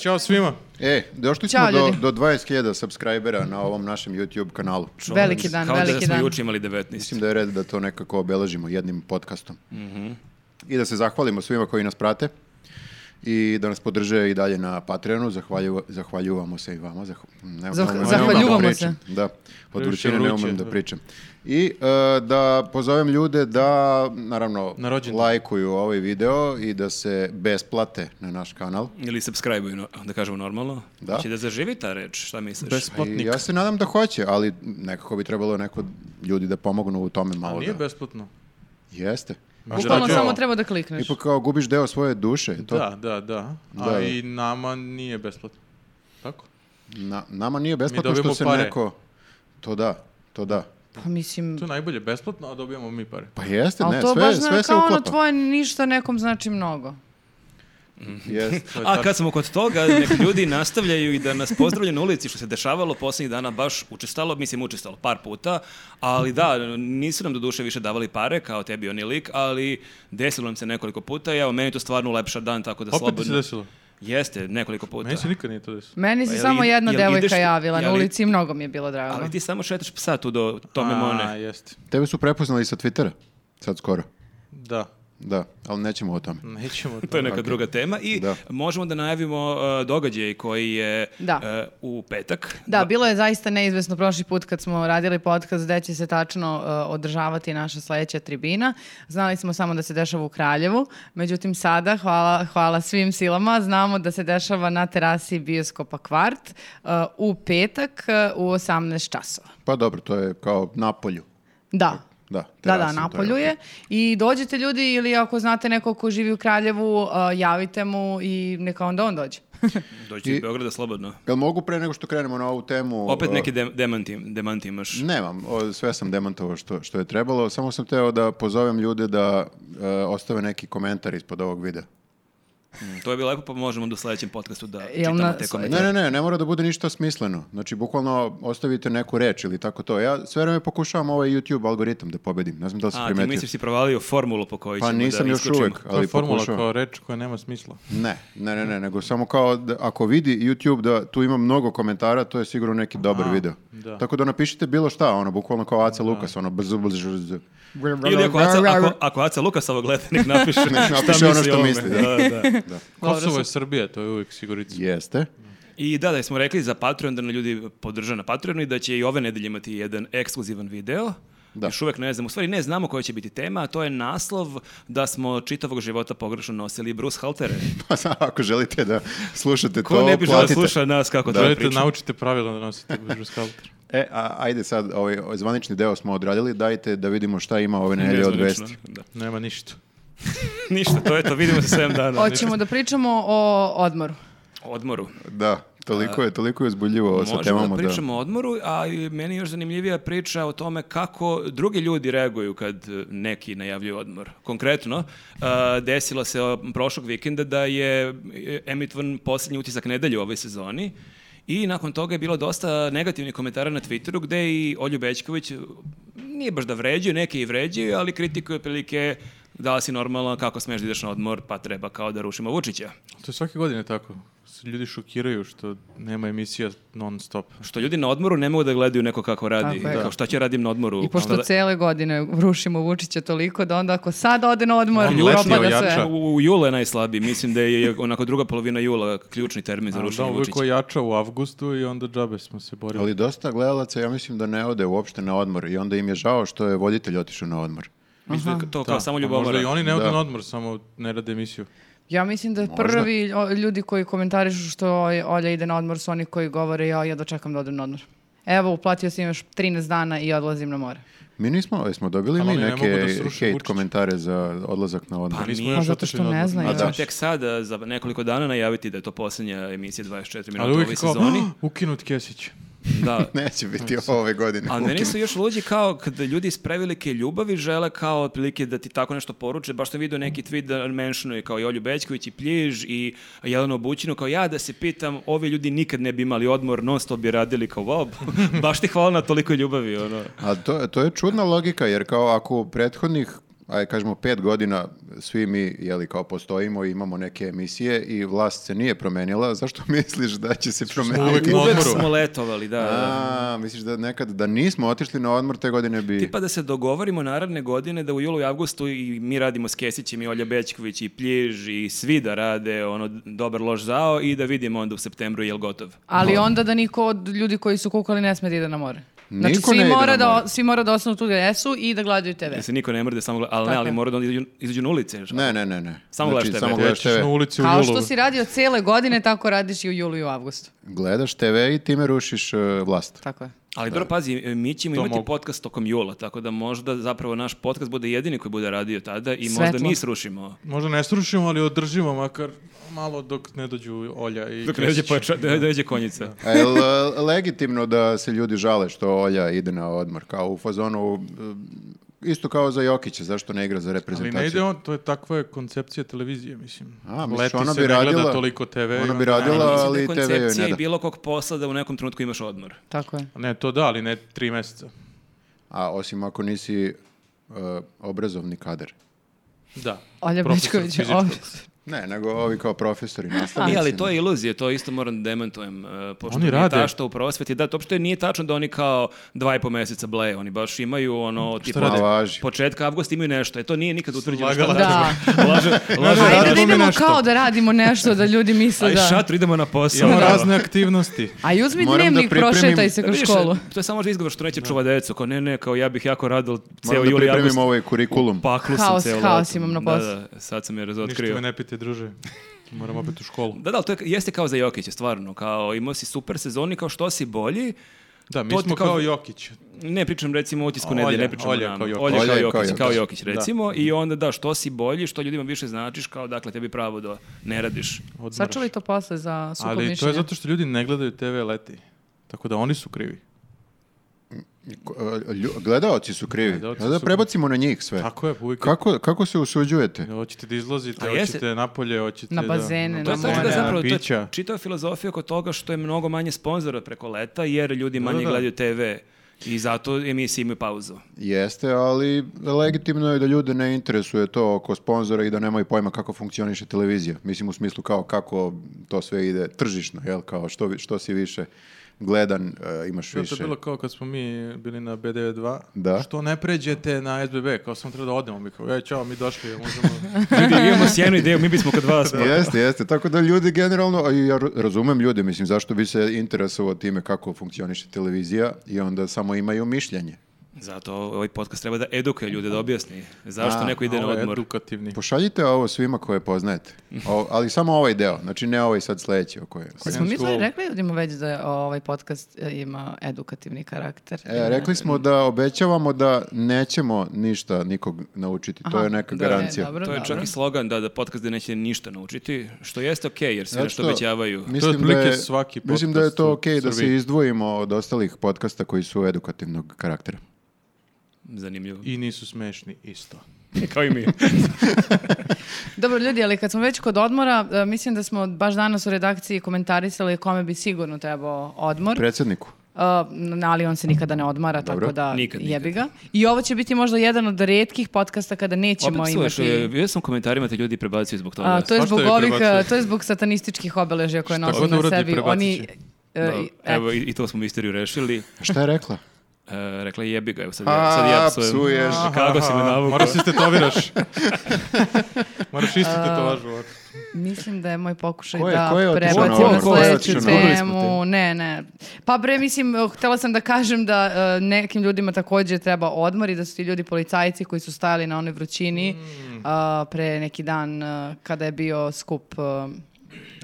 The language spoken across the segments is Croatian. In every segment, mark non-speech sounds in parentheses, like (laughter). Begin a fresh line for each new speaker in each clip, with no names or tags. Ćao svima.
E, došli
Ćao,
smo do,
ljudi.
do 20.000 subscribera na ovom našem YouTube kanalu.
Veliki dan,
Kao da
veliki
smo
dan.
juče imali 19.
Mislim da je red da to nekako obeležimo jednim podcastom.
Mhm.
I da se zahvalimo svima koji nas prate i da nas podrže i dalje na Patreonu. Zahvalju, zahvaljuvamo se i vama. Zah, ne,
Zah-
ne- ne- ne-
zahvaljuvamo
ne- ne-
se.
Da, od
Previše
vrućine ne
vruće,
umem da
da.
pričam. I e, da pozovem ljude da, naravno,
Na rođendan.
lajkuju ovaj video i da se besplate na naš kanal.
Ili subscribe-uju, no- da kažemo normalno.
Da.
Znači da zaživi ta reč, šta misliš?
Pa i
Besplatnik.
ja se nadam da hoće, ali nekako bi trebalo neko ljudi da pomognu u tome malo.
Nije
da-
besplatno.
Jeste.
Bukvalno
Znači,
samo
ovo-
treba da klikneš.
Ipak kao gubiš deo svoje duše. To
Da, da, da. A
Da.
i nama nije besplatno. Tako?
na- nama nije besplatno što
dobijemo
se
pare.
neko... To da, to da.
Pa mislim,
To je najbolje besplatno, a dobijamo mi pare.
Pa jeste,
ali
ne,
to
sve,
baš
sve
zna,
se
kao ono
uklapa.
tvoje ništa nekom znači mnogo.
Jeste.
To je
A
tačno.
kad smo kod toga, nek ljudi nastavljaju i da nas pozdravljaju na ulici, što se dešavalo posljednjih dana baš učestalo, mislim učestalo par puta, ali da, nisu nam do duše više davali pare, kao tebi oni lik, ali desilo nam se nekoliko puta i evo, meni to stvarno ulepša dan, tako da
Opet ti se
slobodno...
desilo.
Jeste, nekoliko puta.
Meni se nikad nije to desilo.
Meni se
Pa jel
samo
id-
jedna
jel ideš
devojka
ti-
javila na
jel i-
ulici i mnogo mi je bilo drago.
Ali ti samo šetaš psa tu do Tome
A,
Mone.
jeste.
Tebe su prepoznali sa Twittera, sad skoro.
Da.
Da, ali nećemo o tome.
Nećemo
(laughs) To
(laughs) to.
je neka druga tema i
Da.
možemo da najavimo uh, događaj koji je
Da.
uh, u petak.
Da, bilo je zaista neizvesno prošli put kad smo radili podcast gde će se tačno uh, održavati naša sledeća tribina. Znali smo samo da se dešava u Kraljevu, međutim sada, hvala, hvala svim silama, znamo da se dešava na terasi bioskopa Kvart uh, u petak uh, u 18 časova.
Pa dobro, to je kao na polju.
Da.
Da,
Da, da,
terasa, to
napolju
okej.
je. I dođete ljudi ili ako znate nekog ko živi u Kraljevu, uh, javite mu i neka onda on dođe.
Dođi iz Beograda slobodno.
Jel mogu pre nego što krenemo na ovu temu...
Opet
uh,
neki de demanti, demanti imaš.
Nemam, o, sve sam demantovao što, što je trebalo, samo sam teo da pozovem ljude da e, ostave neki komentar ispod ovog videa.
To je bilo lepo, pa možemo do sledećem podcastu da
Jel
čitamo
na-
te
Mm. Ne, ne,
komentare.
ne, ne mora da bude ništa smisleno. Znači, bukvalno ostavite neku reč ili tako to. Ja sve vreme pokušavam ovaj YouTube algoritam da pobedim. Ne znam da li si
A, ti
primetio.
misliš si provalio formulu po kojoj
pa
ćemo
nisam
da
još
isključimo.
uvek,
To
ali
je formula
pokušavam.
kao reč koja nema smisla.
Ne, ne, ne, ne, nego samo kao da, ako vidi YouTube da tu ima mnogo komentara, to je sigurno neki dobar video.
da.
Tako da napišite bilo šta, ono, bukvalno kao Aca Lukas, ono, brz, brz, brz, brz.
Ili ako Aca, ako, ako Aca Lukas ovo gleda, nek napiše,
napiše ono što
o ovome.
misli, da.
Da, da.
Kosovo je Srbija, to je uvijek sigurica.
Jeste.
I da, da smo rekli za Patreon, da na ljudi podrže na Patreonu i da će i ove nedelje imati jedan ekskluzivan video.
Da.
Još uvek ne znam, u stvari ne znamo koja će biti tema, a to je naslov da smo čitavog života pogrešno nosili Bruce Haltere.
Pa (laughs) sad, ako želite da slušate
Ko
to,
ne bi želeo da
platite.
sluša nas kako to
Želite,
priča?
naučite pravila da nosite bruskalter.
E, a, ajde sad, ovaj zvanični deo smo odradili, dajte da vidimo šta ima ove nedelje od
Nezvanično,
vesti.
da.
Nema ništa.
Ništa, to je to, vidimo se 7 dana.
(laughs) Hoćemo da pričamo o odmoru.
Odmoru.
Da, toliko je, toliko je uzbudljivo sa
Možemo
temama.
da
da-
pričamo o odmoru, a i meni je još zanimljivija priča o tome kako drugi ljudi reaguju kad e, neki najavljuju odmor. Konkretno, e, desilo se e, prošlog vikenda da je e, emitovan posljednji utisak nedelje u ovoj sezoni i nakon toga je bilo dosta negativnih komentara na Twitteru gde je i Olju Bećković e, nije baš da vređaju, neke i vređaju, ali kritikuje otprilike da li si normalno, kako smeš da ideš na odmor, pa treba kao da rušimo Vučića.
To je svake godine tako. S- Ljudi šokiraju što nema emisija non stop.
Što ljudi na odmoru ne mogu da gledaju neko kako radi.
Tako je.
Kao šta će radim na odmoru?
I pošto
Šta da-
cele godine rušimo Vučića toliko da onda ako sad ode na odmor,
On letnji
propada sve.
ojača.
U, u julu je najslabiji, mislim da je onako druga polovina jula ključni termin za
Ali
rušenje
Da, uvijek
Vučića.
ojača u avgustu i onda džabe smo se borili.
Ali dosta gledalaca, ja mislim da ne ode uopšte na odmor i onda im je žao što je voditelj otišao na odmor.
Mislim da je to
Da,
Pa kao samo
a Pa Možda i
ljubomora. Pa
oni ne odu
Da.
na odmor, samo ne rade emisiju.
Ja mislim da prvi o, ljudi koji komentarišu što je- Olja ide na odmor su oni koji govore ja, ja dočekam da odem na odmor. Evo, uplatio sam još 13 dana i odlazim na more.
Mi nismo, jesmo dobili
Ali
mi
oni ne
neke
mogu da sruše
hate
Vučića.
komentare za odlazak na odmor.
Pa
Nismo
nije.
još
Pa zato
otišli
što
na
ne
odmor.
znaju.
A
Da.
da.
Tek sada, za nekoliko dana najaviti da je to posljednja emisija 24 minuta
Ali
u
uvijek
ovoj
je kao,
sezoni.
"Ah, (gasps) ukinut Kesić. (laughs)
da.
(laughs) Neće biti ove godine.
Pa Ali meni su još luđi kao kada ljudi iz prevelike ljubavi žele kao otprilike da ti tako nešto poruče. Baš sam vidio neki tweet da menšuje kao Jolju Bećković i Pljiž i Jelenu Bućinu. Kao ja da se pitam, ovi ljudi nikad ne bi imali odmor, non stop bi radili kao wow. (laughs) baš ti hvala na toliko ljubavi. Ono.
A to, to je čudna logika, jer kao ako u prethodnih, aj kažemo pet godina svi mi, jeli, kao postojimo i imamo neke emisije i vlast se nije promenila, zašto (laughs) misliš da će se
uvek
promeniti?
na
Uvek
odmoru.
smo letovali, da. da.
Dakle, A, misliš da nekad, da nismo otišli na odmor te godine bi...
Tipa pa da se dogovorimo naravne godine da u julu i avgustu i mi radimo s Kesićem i Olja Bećković i Pljež i svi da rade ono dobar loš zao i da vidimo onda u septembru jel gotov.
Ali onda da niko od ljudi koji su kukali ne sme da ide na more. Znači,
Niko
svi,
ne ide
mora
na
da,
more.
svi mora da ostanu tu gdje jesu i da gledaju TV.
Da se niko ne mrde, samo gleda, ali ne,
Tako
ali
je.
mora da onda izađu, izađu na ulice. žal.
Ne, ne, ne, ne.
Samo
Znači,
gledaš TV.
Samo gledaš
Gledaš
TV.
na ulici u
Kao
julu.
što si radio cele godine, tako radiš i u julu i u avgustu.
Gledaš TV i time rušiš e, vlast.
Tako je.
Ali dobro, pazi, e, mi ćemo
To
imati
mogu.
podcast tokom jula, tako da možda zapravo naš podcast bude jedini koji bude radio tada i možda
Svetlo.
mi srušimo.
Možda ne strušimo, ali održimo makar malo dok ne dođu Olja i
Dok ne dođe,
Kesić.
pojača- da ne dođe konjica.
A je
(laughs)
li, e, legitimno da se ljudi žale što Olja ide na odmor? Kao u fazonu, e, isto kao za Jokića, zašto ne igra za
Ali
reprezentaciju?
ne ide on, to je takva je koncepcija televizije, mislim.
A, misliš,
Leti
ona
se,
bi
ne gleda
radila-
toliko TV.
ona
i
bi
onda-
radila-
Ali mislim
ali
da
TV joj
je
ne
koncepcija i
da.
bilo kog posla da u nekom trenutku imaš odmor.
Tako je.
Ne, to da, ali ne tri mjeseca.
A osim ako nisi e, obrazovni kadar.
Da.
Olja
Profesor
Bečković je
fizičkog.
ovdje.
Ne, nego ovi kao profesori, nastavnici.
Ne, Pa ali to je iluzija, to isto moram da demantujem. e, Pošto
Oni
oni
rade.
rade. što u prosveti, da, to uopšte nije tačno da oni kao dva i po meseca bleje, oni baš imaju ono, tipa,
rade?
od
Pa, Laži.
početka avgusta imaju nešto, e to nije nikad utvrđeno šta znači.
lagala.
rade. Laže, laže,
ne,
Ajde da
radimo mi
idemo
nešto.
kao da radimo nešto, da ljudi misle
Aj,
da...
šatru, idemo na posao.
Imamo
Da.
razne
(laughs)
aktivnosti.
A i uzmi
Moram da
dnevnik,
pripremim-
prošetaj se
Da
kroz
vidiš,
školu.
To je samo možda izgovor što neće čuva decu, kao ne, ne, kao ja bih jako rado ceo
Moram da
juli i avgust. Pa-
pripremim ovaj kurikulum.
Paklu sam
Haos,
ceo
haos
leto.
imam na
Da,
poslu.
da, sad sam je
Ništa
razotkrio.
me ne pite, druže. Moram opet u školu.
Da, da, ali to je, jeste kao za Jokića, stvarno. Kao, imao si super sezoni, kao što si bolji,
Da, mi
To ti
smo
kao-
kao Jokić.
Ne pričam recimo o utisku
Olja,
nedelje, ne pričam
Olja
o nama.
kao Jokić.
Olja
Olja
kao
je
Jokić,
kao
kao
Jokić.
Jokić, recimo. I onda da, što si bolji, što ljudima više značiš, kao dakle tebi pravo da ne radiš.
odmaraš.
Sačuvaj to posle za sukob
Ali to
mišljenja.
je zato što ljudi ne gledaju TV leti. Tako da oni su krivi.
Ko- e, lju- Gledaoci su krivi.
Gledaoci
Da
su-
prebacimo na njih sve.
Tako je, uvijek.
E. Kako, kako se usuđujete?
Hoćete da izlazite,
A jesi-
hoćete napolje, hoćete
Na
da-
bazene, na
To je znači
bazene,
da
more.
zapravo to je
pića.
čitava filozofija oko toga što je mnogo manje sponzora preko leta, jer ljudi manje
da.
gledaju TV i zato emisije imaju pauzu.
Jeste, ali legitimno je da ljude ne interesuje to oko sponzora i da nemaju pojma kako funkcioniše televizija. Mislim u smislu kao kako to sve ide tržišno, jel? Kao što, vi- što si više gledan, e, imaš
To je
više.
bilo kao kad smo mi bili na B92,
Da.
što ne pređete na SBB, kao sam treba da odemo, mi kao, e, čao, mi došli, možemo...
Ljudi, imamo sjajnu ideju, mi bismo kod vas.
Jeste, jeste. Tako da ljudi generalno, a i ja ra- razumem ljude, mislim zašto bi se interesovao time kako funkcioniše televizija i onda samo imaju mišljenje.
Zato ovaj podcast treba da edukuje ljude, da objasni zašto
A,
neko ide na
Ovo je
odmor.
Edukativni.
Pošaljite ovo svima koje poznajete, O- ali samo ovaj deo, znači ne ovaj sad sledeći. o koje- koje-
Jesmo mi to
Studentsko-
rekli ljudima već da ovaj podcast e, ima edukativni karakter?
E, rekli smo da obećavamo da nećemo ništa nikog naučiti, to je neka
da,
garancija.
dobro.
To je čak i slogan da, da podcast da neće ništa naučiti, što jeste okej, jer sve
Zato
nešto
što
obećavaju.
Mislim da
otprilike
je,
svaki
mislim da je
podcast
to
u
ok da se
Srbiji.
izdvojimo od ostalih podcasta koji su edukativnog karaktera.
Zanimljivo.
I nisu smešni isto.
(laughs) Kao i mi.
Dobro ljudi, ali kad smo već kod odmora, e, mislim da smo baš danas u redakciji komentarisali kome bi sigurno trebao odmor,
Predsjedniku.
E, n- ali on se nikada ne odmara, tako da
Nikad, nikad.
jebi ga. I ovo će biti možda jedan od redkih podcasta kada nećemo
Opet
imati...
slušaj, ono, vidio sam u komentarima te ljudi prebacuju zbog toga.
A, to je
Svašta
zbog
je
ovih,
prebacio.
e, to je zbog satanističkih obeležja koje nosi
god da
na
uradi,
sebi.
prebacit
Oni,
će.
e,
Da,
i- e,
evo, i, i to smo misteriju rešili.
Šta je rekla?
E, rekla je jebi ga, evo sad
A,
ja, sad ja psujem.
psuješ.
Kako si me navukao?
Moraš istetoviraš. (laughs) Moraš istetetovažu. ovako.
Mislim da je moj pokušaj
Ko je-
da
ko je otišao Ono,
na
prebacimo
odmor? Ko je
sledeću
otišao na odmor?
temu. Ne, ne. Pa bre, mislim, eh, htela sam da kažem da eh, nekim ljudima također treba odmor i da su ti ljudi policajci koji su stajali na onoj vrućini
Mm.
eh, pre neki dan eh, kada je bio skup. eh,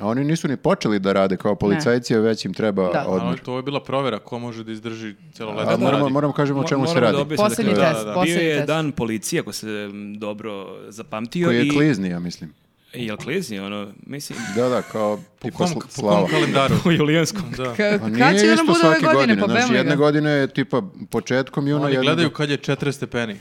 A oni nisu ni počeli da rade kao policajci, a već im treba
Da.
A ovo-
odmor.
To je bila provera ko može da izdrži cijelo
A
leto. da
moramo,
radi.
moramo kažemo o
Mo-
čemu se
moram
radi.
da objasnim,
Poslednji
dakle,
test,
Bio
poslednji
je
test.
dan policije, ako se m, dobro zapamtio.
Koji je
i-
klizni, ja mislim.
I jel klizni, ono, mislim,
Da, da, kao
Po
tipa
kom,
sl-
po kom
slava.
kalendaru?
u julijanskom.
Da.
K-
Pa
kad će
nije
da nam
isto
bude ove
svaki
godine?
godine,
pa
znaš,
bemoj ga.
jedne godine je tipa početkom juna,
Oni
jedne
gledaju kad je 40 stepeni.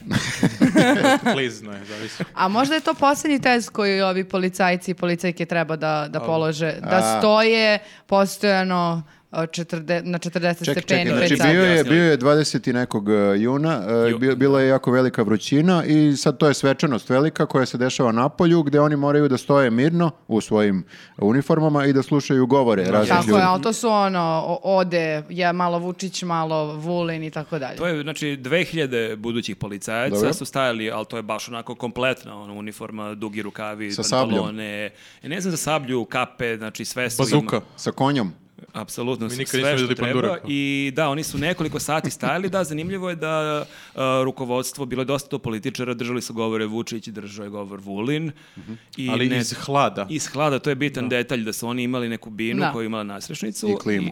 Klizno je, zavisi.
A možda je to posljednji test koji ovi policajci i policajke treba da, da polože. Da
A.
stoje postojano a, četrde- na 40
Čekaj,
stepeni.
čekaj,
već
znači
sad.
bio je,
objasnili.
bio je 20. i nekog e, juna, e,
Ju-
bio- bila je jako velika vrućina i sad to je svečanost velika koja se dešava na polju gde oni moraju da stoje mirno u svojim uniformama i da slušaju govore raznih
Tako
ljudi.
je, ali to su ono, o- ode, ja malo Vučić, malo Vulin i tako dalje.
To je, znači, 2000 budućih policajaca
Dobro.
su stajali, ali to je baš onako kompletna ono, uniforma, dugi rukavi,
Sa sabljom.
pantalone, e, ne znam za sablju, kape, znači sve su
Bazuka.
Sa konjom.
Apsolutno,
Mi nikad
sve
nismo
što
videli
treba.
pandura.
I da, oni su nekoliko sati stajali, da, zanimljivo je da uh, rukovodstvo, bilo je dosta to političara, držali su govore Vučić, držao je govor Vulin. I
Mhm. Ali
ne-
iz hlada.
Iz hlada, to je bitan detalj, da su oni imali neku binu
Da.
koja je imala nasrešnicu.
I klimu.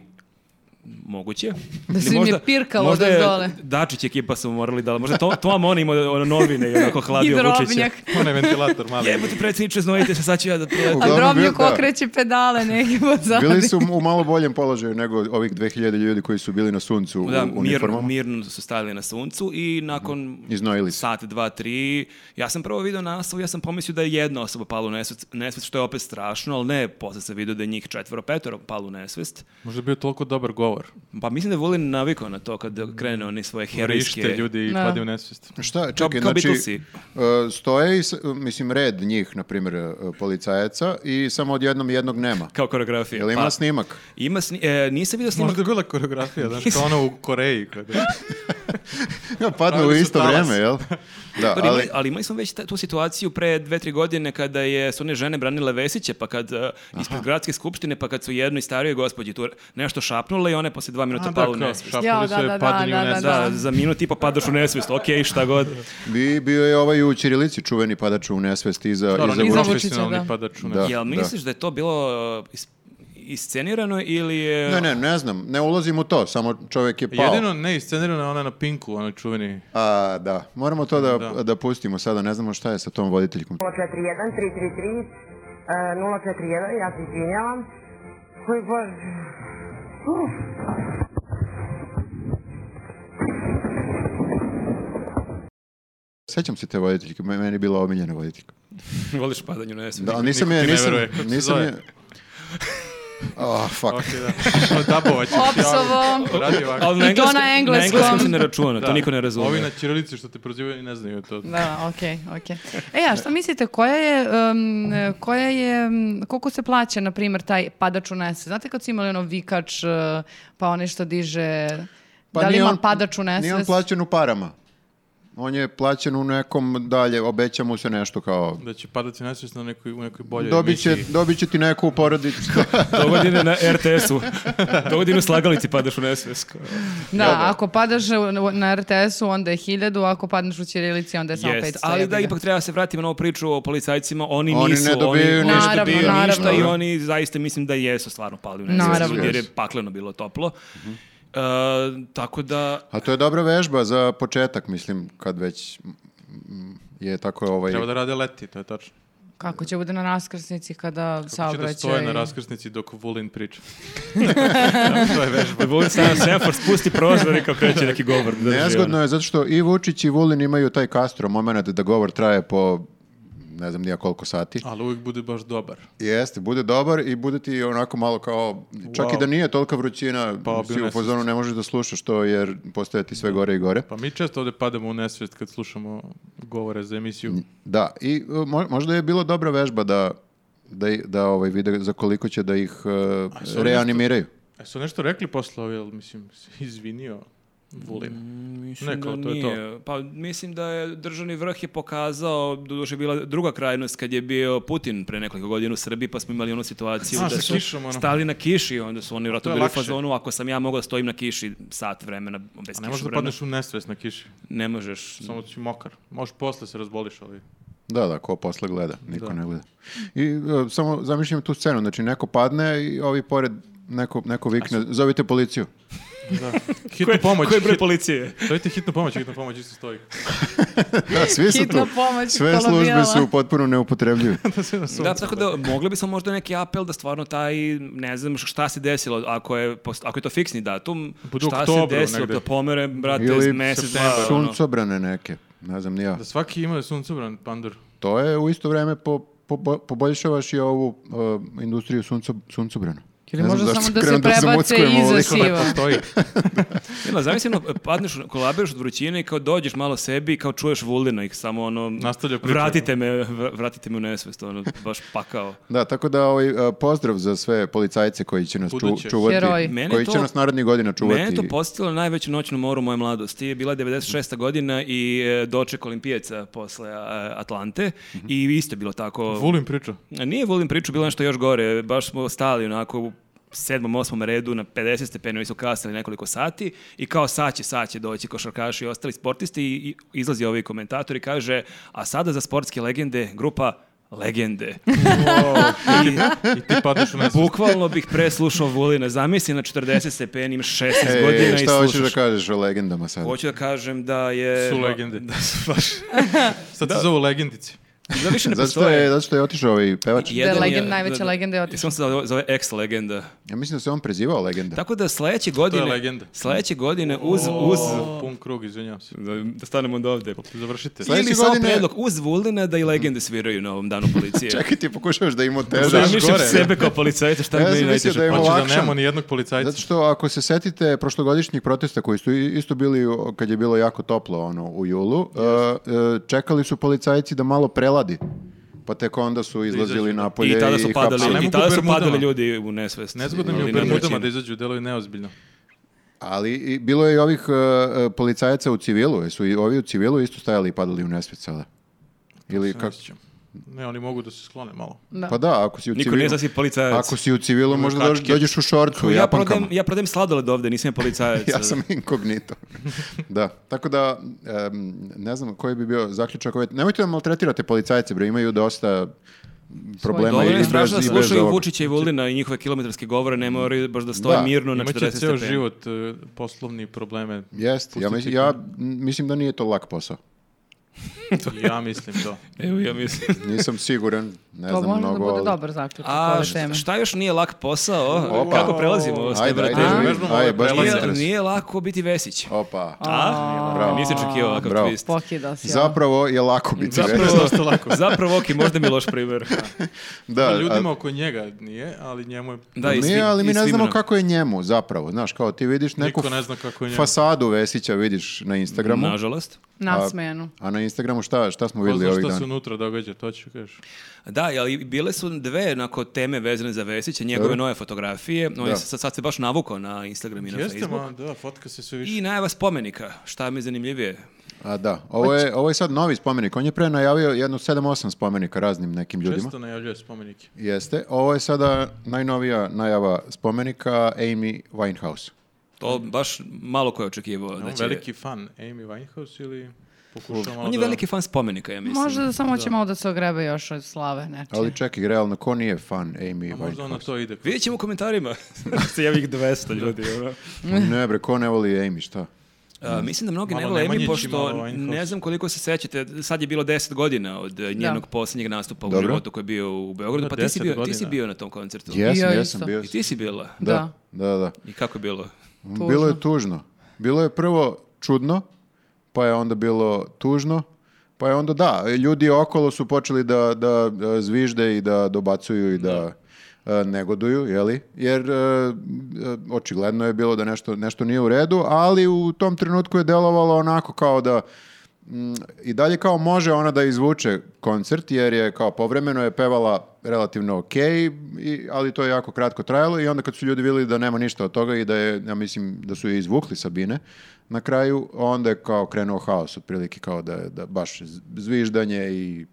Moguće.
Da
Ili
su im je pirkalo
možda
odavde
je
dole.
Dačić ekipa su morali da... Možda to, to on ima ono, novine
(laughs)
i onako
I
hladio Vučića.
drobnjak.
(laughs) Onaj ventilator mali.
Jebote predsjedniče, znojite se, sad ću ja da prijatelj.
A
Uglavnom,
drobnjak
bio- da.
okreće pedale neki
(laughs)
pozadi.
Bili su u malo boljem položaju nego ovih 2000 ljudi koji su bili na suncu
Da,
u
mirno,
uniformama. Mhm.
mirno su stajali na suncu i nakon
Iznojili se.
sat, dva, tri, ja sam prvo video naslov, ja sam pomislio da je jedna osoba pala u nesvest, nesvest, što je opet strašno, ali ne, posle sam video da je njih četvoro, petoro palo u nesvest.
Možda je bio toliko dobar govor.
Pa mislim da je Vulin navikao na to kad krene oni svoje herijske...
Rište ljudi i
Da.
pade u nesvest.
Šta, čekaj,
kao
znači,
Beatlesi.
e, stoje, i s- mislim, red njih, na primjer, e, policajaca i samo odjednom jednog nema.
Kao koreografija.
Jel ima
Pa,
snimak?
Ima sni- e, nisam vidio snimak.
Možda je bila koreografija, znaš, kao ono u Koreji. Kada...
Ja, padnu u
Pravili su
isto
talas.
vrijeme, jel? Da,
Ali,
ali...
imali, pa ali imali smo već ta- tu situaciju pre dve, tri godine kada je, su one žene branile Vesića, pa kad e, ispred gradske skupštine, pa kad su jednoj starijoj gospođi tu nešto šapnule i ona je posle dva minuta
A,
pala
da,
u
kao,
nesvest.
šapnuli
Jao,
su
da,
je,
da,
padali
da,
u
da,
nesvest.
da.
Da, za minut i pa padaš u nesvest, okej, šta god.
Bi, bio je ovaj u Čirilici čuveni padač u nesvest iza,
Dobro,
iza
on je
Iza
Vučića.
Vučića,
profesionalni
da.
padač u
Da.
nesvest.
Jel misliš da je to bilo e, is- iscenirano ili je...
Ne, ne, ne znam, ne ulazim u to, samo čovjek je pao.
Jedino ne iscenirana je ona na Pinku, onaj čuveni. (laughs)
A, da, moramo to da, da.
Da.
pustimo sada, ne znamo šta je sa tom voditeljkom.
041 333 e, 041, ja se izvinjavam. Koji bože. Uf.
Sećam se te voditeljke, me- meni je bila omiljena voditeljka.
Voliš padanje u nesvest.
Da, ali nisam
niko
je,
ti ne
nisam,
veruje, kako se
nisam
zove?
je... Ah, fuck.
Ok, da. Ono dabovat ćeš.
Opsovo.
javu. Radi ovako.
Ali
I to
engleskom-
na engleskom.
engleskom se ne računa,
Da.
to niko ne razume.
Ovi na Čirilici što te prozivaju ne znaju to.
Da, okej, okej. E, a šta mislite, koja je, um, e, koja je, um, koliko se plaća, na primjer, taj padač u nesvest? Znate kad su imali ono vikač, e, pa onaj što diže... da li
Pa nije
ima
on-
padač u nesvest?
Nije on plaćen u parama. On je plaćen u nekom dalje, obeća mu se nešto kao...
Da će padati nesvest na nekoj, u nekoj boljoj
Dobit će,
emisiji.
dobit će ti neku u porodicu.
Dogodine na RTS-u. Dogodine slagalici padaš u nesvest.
Da, ako padaš u- na RTS-u, onda je hiljadu, ako padneš u Ćirilici, onda je samo
Jest,
500.
ali da
jebi ga.
ipak treba se vratiti na ovu priču o policajcima, oni,
Oni
nisu,
ne dobijaju
oni
ništa. Naravno,
dobijaju
naravno.
ništa i oni zaista mislim da jesu stvarno pali u
Naravno.
nesvest, jer je
Jesu.
pakleno bilo toplo.
Mhm.
E, tako da,
(laughs) A to je dobra vežba za početak, mislim, kad već mm, je tako ovaj...
Treba da rade leti, to je tačno.
Kako će bude na raskrsnici kada
Kako će da
saobraćaj...
stoje na raskrsnici dok Vulin
(laughs)
priča. Da, to je vežba.
Vojvodin Stana Sefor spusti prozor i kao kreće neki govor. drži, ono.
Nezgodno je zato što i Vučić i Vulin imaju taj Castro moment da govor traje po ne znam nija koliko sati.
Ali uvijek bude baš dobar.
Jeste, bude dobar i bude ti onako malo kao, čak i
Wow.
da nije tolika vrućina,
Pa,
si
bio
u fazonu ne možeš da slušaš to jer postaje ti sve gore i gore.
Pa mi često ovdje padamo u nesvest kad slušamo govore za emisiju.
Da, i e, mo- možda je bilo dobra vežba da, da, i- da ovaj vide za koliko će da ih e,
nešto-
reanimiraju.
E su nešto rekli posle ovi, jel, mislim, se izvinio
Mm,
Vulin.
Mislim
Neko,
da
to je to.
nije. Pa mislim da je državni vrh je pokazao, doduše bila druga krajnost kad je bio Putin pre nekoliko godina u Srbiji, pa smo imali onu situaciju
A,
da
sa
su
kišom, ono.
stali na kiši, onda su oni vratno
je
bili u
lakše.
fazonu, ako sam ja mogao da stojim na kiši sat vremena, bez
A ne
kišu
možeš da
vremena,
padneš u nesvest na kiši.
ne možeš.
Samo si mokar. Možeš posle se razboliš, ali...
Da, da, ko posle gleda, niko ne gleda. I e, samo zamišljam tu scenu, znači neko padne i ovi pored neko, neko vikne, zovite
(laughs)
policiju.
Da. Hitnu pomoć.
Koji je broj
hit-
policije?
Zovite hitnu pomoć, hitnu pomoć isto stoji.
Da, svi su
Hitna
tu.
pomoć
Sve službe
kolabijala.
su
(laughs)
potpuno neupotrebljive.
(laughs) Da, tako da mogli bismo možda neki apel da stvarno taj, ne znam šta se desilo, ako je, post- ako je to fiksni datum,
Bude u
šta se
oktobru
desilo,
negde.
da pomere,
Pa,
brate,
Ili
mesec, dva,
septembar,
ono.
suncobrane neke, ne znam ni ja.
Da svaki ima suncobran pandur.
To je u isto vrijeme po, po- poboljšavaš i ovu e, industriju sunco, suncobrana.
Ili
Ne znam
možda
zašto
samo
sam
da se
krenuo da se
prebace
muckujemo
iza
ovoliko.
siva.
(laughs)
Postoji.
Mila, zamisli, ono, padneš, kolabiraš od vrućine i kao dođeš malo sebi i kao čuješ vulina i samo ono...
Nastavlja priču.
Vratite me, vr- vratite me u nesvest, ono, baš pakao.
Da, tako da ovaj, a, pozdrav za sve policajce koji će nas ču-
Buduće.
čuvati.
Heroji.
Mene
koji
to-
će nas narednih godina čuvati.
Mene je to postavilo najveću noćnu moru moje mladosti. Je bila 96. godina i e, doček olimpijaca posle e, Atlante
Mhm.
i isto je bilo tako.
Volim priču.
Nije volim priču, bilo je nešto još gore. Baš smo stali onako u sedmom, osmom redu na 50 stepeni, su kasnili nekoliko sati i kao sad će, sad će doći košarkaši i ostali sportisti i, i izlazi ovi komentator i kaže a sada za sportske legende grupa
(laughs)
Legende. I
I ti (laughs) padneš u nesvest.
bukvalno bih preslušao Vulina. Zamisli na 40 stepeni, imaš 16
Ej,
godina i
E, šta hoćeš
slušaš.
da kažeš o legendama sad?
Hoću da kažem da je...
Su legende.
Da su
(laughs)
baš...
Sad se zovu legendici.
Da više ne
Zato što je,
postoje.
zato što je otišao ovaj pevač.
Jedan
legend- najveća legenda je otišla.
Samo se zove, zove ex-legenda.
Ja mislim da se on prezivao legenda.
Tako da sledeće godine...
legenda.
Sledeće godine uz... uz
Pun krug, izvinjavam se. Pa
da, da stanemo od ovde.
Završite.
Sledeće
Ili samo
godine-
predlog uz Vulina da i legende sviraju na ovom danu
(laughs)
policije.
Čekaj, ti pokušavaš da ima teža.
Možda
Da,
još
mišljam
gore,
sebe kao policajca, šta
Ja
mi
sam
je
mislio
najteže.
da je
Hoće
ovo
da
lakše.
nemamo ni jednog policajca.
Zato što ako se setite prošlogodišnjih protesta koji su i- isto bili o, kad je bilo jako toplo ono u julu, e, e, čekali su policajci da malo preladi. Pa tek onda su izlazili
izađu, da.
napolje
I tada su
Ali ne
padali,
hapsili.
i
mogu
tada su
Bermudama.
padali ljudi u nesvest.
Nezgodno mi
Ili
je u
na
Bermudama
vrućini.
da izađu, delo je neozbiljno.
Ali i, bilo je i ovih e, e, policajaca u civilu, e, su i ovi u civilu isto stajali i padali u nesvijest sada. Ili
Ne
kako?
sjećam. Ne, oni mogu da se sklone malo.
Da.
Pa da, ako si u
ono- Niko
civilu.
ne zna si policajac.
Ako si u civilu, možda dođeš,
kačke.
dođeš u šorcu,
ja,
japankama.
prodajem, ja prodajem sladoled ovde, nisam ja policajac.
ja sam inkognito. da, tako da, em, ne znam koji bi bio zaključak ove... Nemojte da maltretirate policajce, bre, imaju dosta problema i,
Dovoljno je
bez, i
strašno da
bez
slušaju
ovog.
Vučića i Vulina i njihove kilometarske govore, ne moraju baš da stoje
Da,
mirno na 40
Imaće
stepeni.
ceo život e, poslovni
(laughs)
probleme.
Jest, ja, mislim, ja mislim da nije to lak posao.
Ja mislim to.
Evo ja mislim.
Nisam siguran, ne
To
znam
može Pa da
mnogo.
bude
ali-
dobar zaključak
A
ove
šta-
teme.
šta još nije lak posao?
Opa.
Kako prelazimo s te
Ajde, ajde,
bratežu?
ajde,
Vežbamo
ajde,
ove
baš me
prelaze.
Nije,
interes.
nije lako biti Vesić.
Opa.
A?
Bravo.
Nisam očekivao ovakav
Bravo.
twist.
Pokidao si. ovo.
Zapravo je lako biti
Zapravo,
već.
(laughs) zapravo ok, možda mi je loš primjer.
(laughs) Da, a-
Ljudima oko njega nije, ali njemu je...
pa Da, i
nije,
svim-
ali mi
i
ne
svima
znamo
nam.
kako je njemu zapravo. Znaš, kao ti vidiš neku
Niko ne zna kako je njemu.
fasadu Vesića vidiš na Instagramu,
Nažalost.
pa-
Nasmejanu.
a na Instagramu šta, šta smo
Ko
vidjeli
zna
ovih
šta
dana?
se unutra događa, to ću kažeš.
Da, ali bile su dve onako, teme vezane za Vesića, njegove
Da.
nove fotografije. On je sad, sad se baš navukao na Instagram i na
Jeste,
Facebook.
ma, da, fotka se sve više.
I najava spomenika, šta mi je zanimljivije.
A da, ovo je, ovo je sad novi spomenik. On je pre najavio jedno 7-8 spomenika raznim nekim ljudima.
Često najavljuje spomenike.
Jeste. Ovo je sada najnovija najava spomenika Amy Winehouse.
To baš malo ko je očekivao.
Je
da
on
će-
veliki fan Amy Winehouse ili pokušao malo
Znači- On je
da...
veliki fan spomenika, ja mislim.
Možda da samo će malo da se ogrebe još od slave nečije.
Ali čekaj, realno, ko nije fan Amy
A možda on na
Winehouse?
to ide.
Vidjet ćemo u
(laughs)
komentarima. Se javi ih 200 ljudi. ono.
Ne bre, ko ne voli Amy, šta?
A, mislim da mnogi
Malo
ne vole Amy,
Nemanjići,
pošto
malo Winehouse.
ne znam koliko se sećate, sad je bilo 10 godina od e, njenog posljednjeg nastupa u
Dobro.
životu koji je bio u Beogradu,
Da,
pa ti si,
10
bio, ti si
godina.
bio na tom koncertu.
Jesam,
ja
jesam,
isto.
bio
I
sam.
ti si bila.
Da, da, da.
I kako je bilo?
Bilo je tužno. Bilo je prvo čudno, pa je onda bilo tužno, pa je onda da, ljudi okolo su počeli da, da e, zvižde i da dobacuju i da e, negoduju, jeli? Jer e, e, očigledno je bilo da nešto, nešto nije u redu, ali u tom trenutku je delovalo onako kao da mm, i dalje kao može ona da izvuče koncert, jer je kao povremeno je pevala relativno ok, i, ali to je jako kratko trajalo i onda kad su ljudi vidjeli da nema ništa od toga i da je, ja mislim, da su je izvukli Sabine, na kraju onda je kao krenuo haos, otprilike kao da, je- da baš z- zviždanje i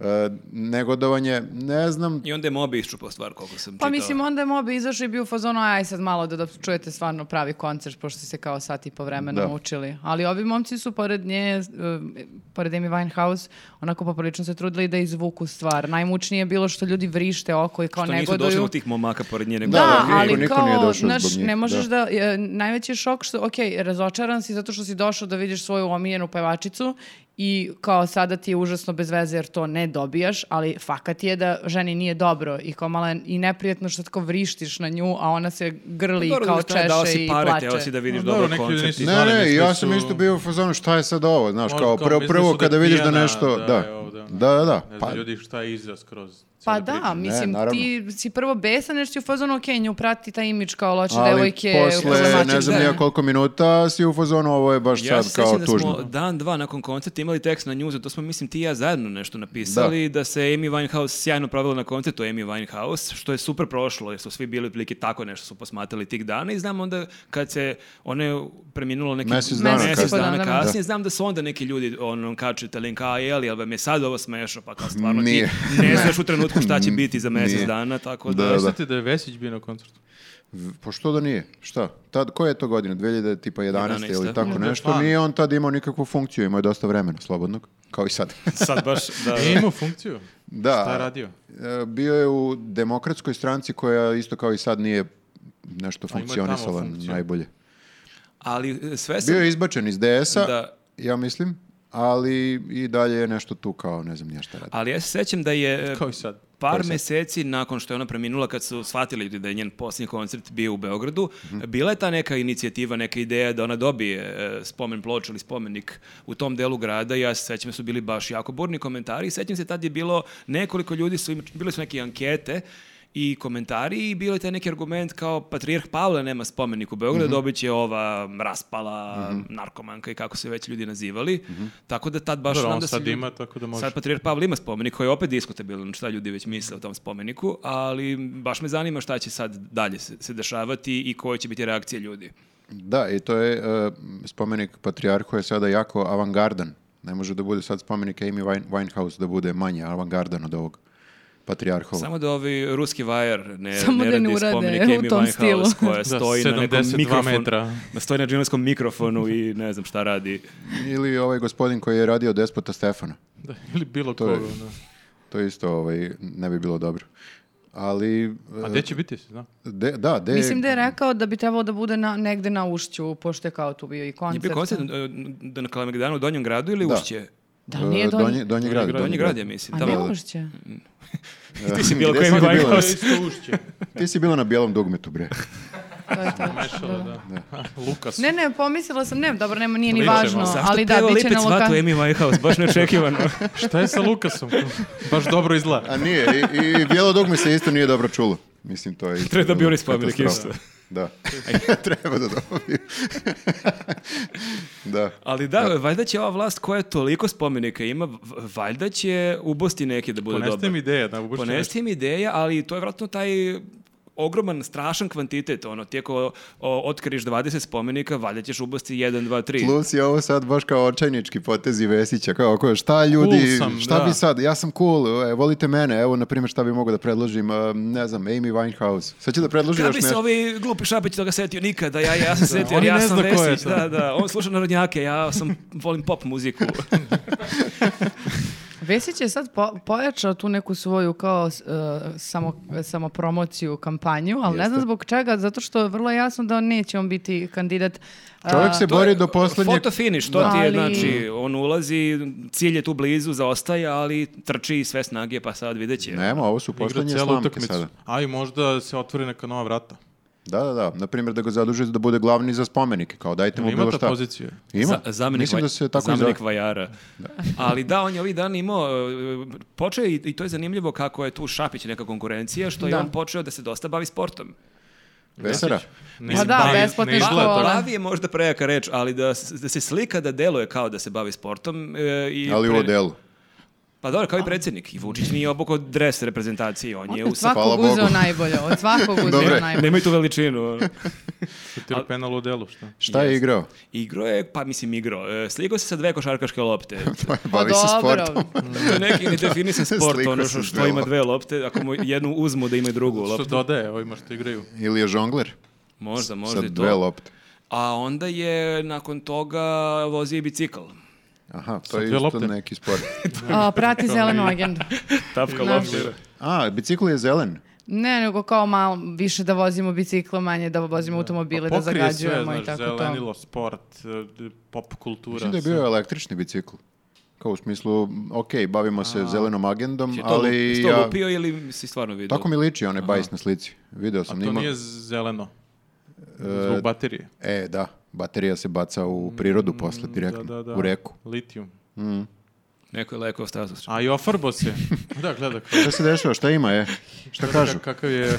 e, negodovanje, ne znam,
I onda je Mobi iščupao stvar koliko sam
Pa
čitao.
mislim, onda je Mobi izašao i bio u fazonu, aj sad malo da, da čujete stvarno pravi koncert, pošto ste se kao sat i po vremena
Da.
učili. Ali ovi momci su pored nje, eh, pored Amy Winehouse, onako poprilično se trudili da izvuku stvar. Najmučnije je bilo što ljudi vrište oko i kao
Što nisu došli
negoduju.
do tih momaka pored nje. nego-
Da,
Da,
da,
ali
niko- niko
kao,
nije došao
znaš,
zbog njih,
ne možeš da, e, najveći je šok što, ok, razočaran si zato što si došao da vidiš svoju omiljenu pevačicu i kao sada ti je užasno bez veze jer to ne dobijaš, ali fakat je da ženi nije dobro i kao malo je i neprijatno što tako vrištiš na nju, a ona se grli i
Pa Dobro,
kao
znaš šta je,
češe
dao si
i
pare,
plače.
teo si da vidiš
No,
dobro
dobro, neki ljudi
koncert. i-
nisu
Ne,
Zvane
ne,
mislili
ja sam
su-
isto bio u fazonu šta je sad ovo, znaš,
Možda
kao prvo,
mislili
prvo
su da
kada
je
vidiš da
pijana,
nešto, da,
je ovo, zapravo, da.
Da, da, da.
ono, Ne
Pa,
znam ljudi šta je iza skroz.
Pa
cijele priče.
da, mislim,
naravno.
ti si prvo besan jer si u fazonu, ok, nju prati taj imidž kao loče
ali
Znači, devojke. Znači,
posle,
problematične.
ne znam nija koliko minuta si u fazonu, ovo je baš
Ja se
sad kao
sjećam da
tužno.
smo dan, dva nakon koncerta imali tekst na njuzu, to smo, mislim, ti i ja zajedno nešto napisali, da, se Amy Winehouse sjajno provela na koncertu Amy Winehouse, što je super prošlo, jer su svi bili otprilike tako nešto su posmatrali tih dana i znam onda kad se ono je preminulo neki
Mjesec dana
mjesec
kasnije.
dana
Da.
kasnije, znam da su onda neki ljudi ono, kače te link, a je li, jel vam je sad ovo smešno, pa kao stvarno
Nije.
ti ne
(laughs)
znaš u trenutku šta će biti za mjesec
Nije.
dana, tako
Da,
da...
da.
Mislite da je Vesić bio na koncertu?
V- Pa što da nije? Šta? Tad, koja je to godina? 2011.
11.
ili tako
Mhm.
nešto?
Pa.
Nije on tad imao nikakvu funkciju, imao je dosta vremena slobodnog, kao i sad. E,
Sad baš, da, da.
Nije imao funkciju?
Da.
Šta je radio?
E, Bio je u demokratskoj stranci koja isto kao i sad nije nešto
tamo
funkcionisala
funkciju.
najbolje.
Ali e, sve sam...
Bio je izbačen iz DS-a,
Da.
ja mislim, ali i dalje je nešto tu kao ne znam nije šta radi.
Ali ja se sjećam da je e,
Kao i sad.
Par meseci nakon što je ona preminula, kad su shvatili ljudi da je njen posljednji koncert bio u Beogradu, bila je ta neka inicijativa, neka ideja da ona dobije e, spomen ploču ili spomenik u tom delu grada. Ja se sećam da su bili baš jako burni komentari i sećam se tad je bilo nekoliko ljudi, su, im- bile su neke ankete i komentari i bio je taj neki argument kao patrijarh Pavle nema spomenik u Beogradu, dobit će ova raspala, narkomanka i kako se već ljudi nazivali. Tako da tad baš
Dobro,
znam
on
da su
sad
ljudi-
ima, tako da može.
Sad Patrijarh Pavle ima spomenik koji je opet diskutabilan, šta ljudi već misle o tom spomeniku, ali baš me zanima šta će sad dalje se, se dešavati i koje će biti reakcije ljudi.
Da, i to je e, spomenik Patriarhu je sada jako avangardan. Ne može da bude sad spomenik Amy Wine- Winehouse da bude manje avangardan od ovog Patriarhova.
Samo da ovi ruski vajar ne,
Samo
ne
da ne
radi
urade
spomenik
u
Amy
tom
Winehouse
stilu.
(laughs) koja stoji na nekom
72
mikrofonu,
metra.
da (laughs) stoji na džinovskom mikrofonu i ne znam šta radi.
Ili ovaj gospodin koji je radio Despota Stefana.
Da, ili bilo
je-
koga. ono.
To isto ovaj, ne bi bilo dobro. Ali, e,
A gdje će biti, se zna?
de- da, de,
Mislim da je rekao da bi trebalo da bude na, negde na ušću, pošto je kao tu bio i
Je
koncert.
bio koncert e, da na Kalemegdanu u Donjem gradu ili
Da.
Ušće?
Da, nije
e,
Donji-
Donji, Donji grad.
Donji
Donji grad,
(laughs)
ja mislim.
A
Tamo.
ne ušće?
E,
Ti si bila
gde
ko
si
Amy
Ами,
ti bila?
Winehouse.
Isto ušće.
Ti si bila na bijelom dugmetu, bre.
To je to.
Mešalo, da. Lukas.
Ne, ne, pomislila sam, ne, dobro, nema, nije ni
Pričamo,
važno,
Zašto
ali da,
peva
bit će na
Lipec vatu
lokaciji.
Amy Winehouse,
(laughs)
baš neočekivano.
Šta je sa Lukasom? Baš dobro izgleda.
A nije, i, i bijelo dugme se isto nije dobro čulo. Mislim, to je... isto
Treba da bi
bilo
oni spomenik
katastrofa.
isto.
Da. (laughs) Treba da dobiju. (laughs) da.
Ali da, valjda će ova vlast koja toliko spomenika ima, v- valjda će ubosti neke da bude
Poneste
dobar.
mi ideja da ubušće
Ponesti im ideja, ali to je vratno taj ogroman, strašan kvantitet. Ono, tijeko o, otkriš 20 spomenika, valjda ćeš ubosti 1, 2, 3.
Plus je ovo sad baš kao očajnički potezi Vesića, kao ako šta ljudi,
Cool sam,
šta
da.
bi sad, ja sam cool, e, volite mene, evo na primjer šta bi mogao da predložim, e, ne znam, Amy Winehouse. Sad ću da predložim
Kada
još
bi
nešto.
se ovi glupi šapići toga setio nikada, ja, ja sam setio,
oni
ja
ne
sam
zna ko je
Vesić,
to.
da, da, on sluša narodnjake, ja sam, volim pop
(laughs)
muziku.
Vesić je sad po, pojačao tu neku svoju kao s- e, samo, samo promociju, kampanju, ali ne znam zbog čega, zato što je vrlo jasno da on neće on biti kandidat. e, a,
Čovjek se bori do poslednjeg...
Foto finish, to ti je,
Ali-
znači, on ulazi, cilj je tu blizu, zaostaje, ali trči sve snage, pa sad vidjet će.
Nema, ovo su
Igra
poslednje
cijelu
slamke
utakmicu.
sada.
A i možda se otvori neka nova vrata.
Da, da, da. Na primjer da ga zaduže da bude glavni za spomenike, kao dajte mu
Ima
bilo
ta
šta.
pozicija.
Ima.
Za- zamenik
Mislim
vaj-
da se tako i zove.
zamenik vajara. Ali da, on je ovih dana imao, e, počeo je i, i to je zanimljivo kako je tu Šapić neka konkurencija, što je
Da.
on počeo da se dosta bavi sportom.
Vesera.
Pa da, besplatne
ne izgleda
škole.
tako.
Pa-
Bavi je možda prejaka reč, ali da, s- da se slika da deluje kao da se bavi sportom. e, i
Ali u
pre-
odelu.
Pa dobro, kao i predsjednik. I Vučić nije obuko dres reprezentacije, on je u...
Od svakog
Hvala
uzeo
Bogu.
najbolje, od svakog uzeo
Dobre.
najbolje.
Nemaju tu veličinu. ono.
Šutira penal u delu, šta?
Šta je igrao?
Igro je, pa mislim igro, e, sligao se sa dve košarkaške
(laughs)
lopte.
Bavi se
Pa
sportom.
To je neki nedefinisan sport,
Pa- Slikao
ono
se
što,
s
što
dve
ima dve lopte, ako mu jednu uzmu da ima i drugu
Što
loptu.
dodaje ovima što igraju?
Ili je žongler?
Možda, možda
Sa
i
dve
to.
lopte.
A onda je nakon toga vozio i bicikl.
Aha, to
Sa
je
dve
isto
lopte.
neki sport.
A, prati zelenu agendu.
Tapka
Naš.
loptira.
A, bicikl je zelen.
Ne, nego kao malo više da vozimo biciklo, manje da vozimo automobile, Pa da
Pokrije sve,
zagađujemo i
znaš,
tako to.
zelenilo, sport, eh, d- pop kultura.
Mislim da je bio električni bicikl. Kao u smislu, ok, bavimo se zelenom agendom,
Je Znači, to, ali,
ali
si to
ja,
lupio ili si stvarno vidio?
tako mi liči onaj bajs na slici. Video sam
sve. To
njima.
nije zeleno. Zbog baterije.
E, da, baterija se baca u prirodu posle direktno,
Da, da, da.
u reku.
Litijum.
Neko je lekao status.
A i ofarbo
(laughs)
se. Da, gleda kao.
Šta se dešava? Šta ima, je? Šta kažu? Znači,
Ka- Kakav je...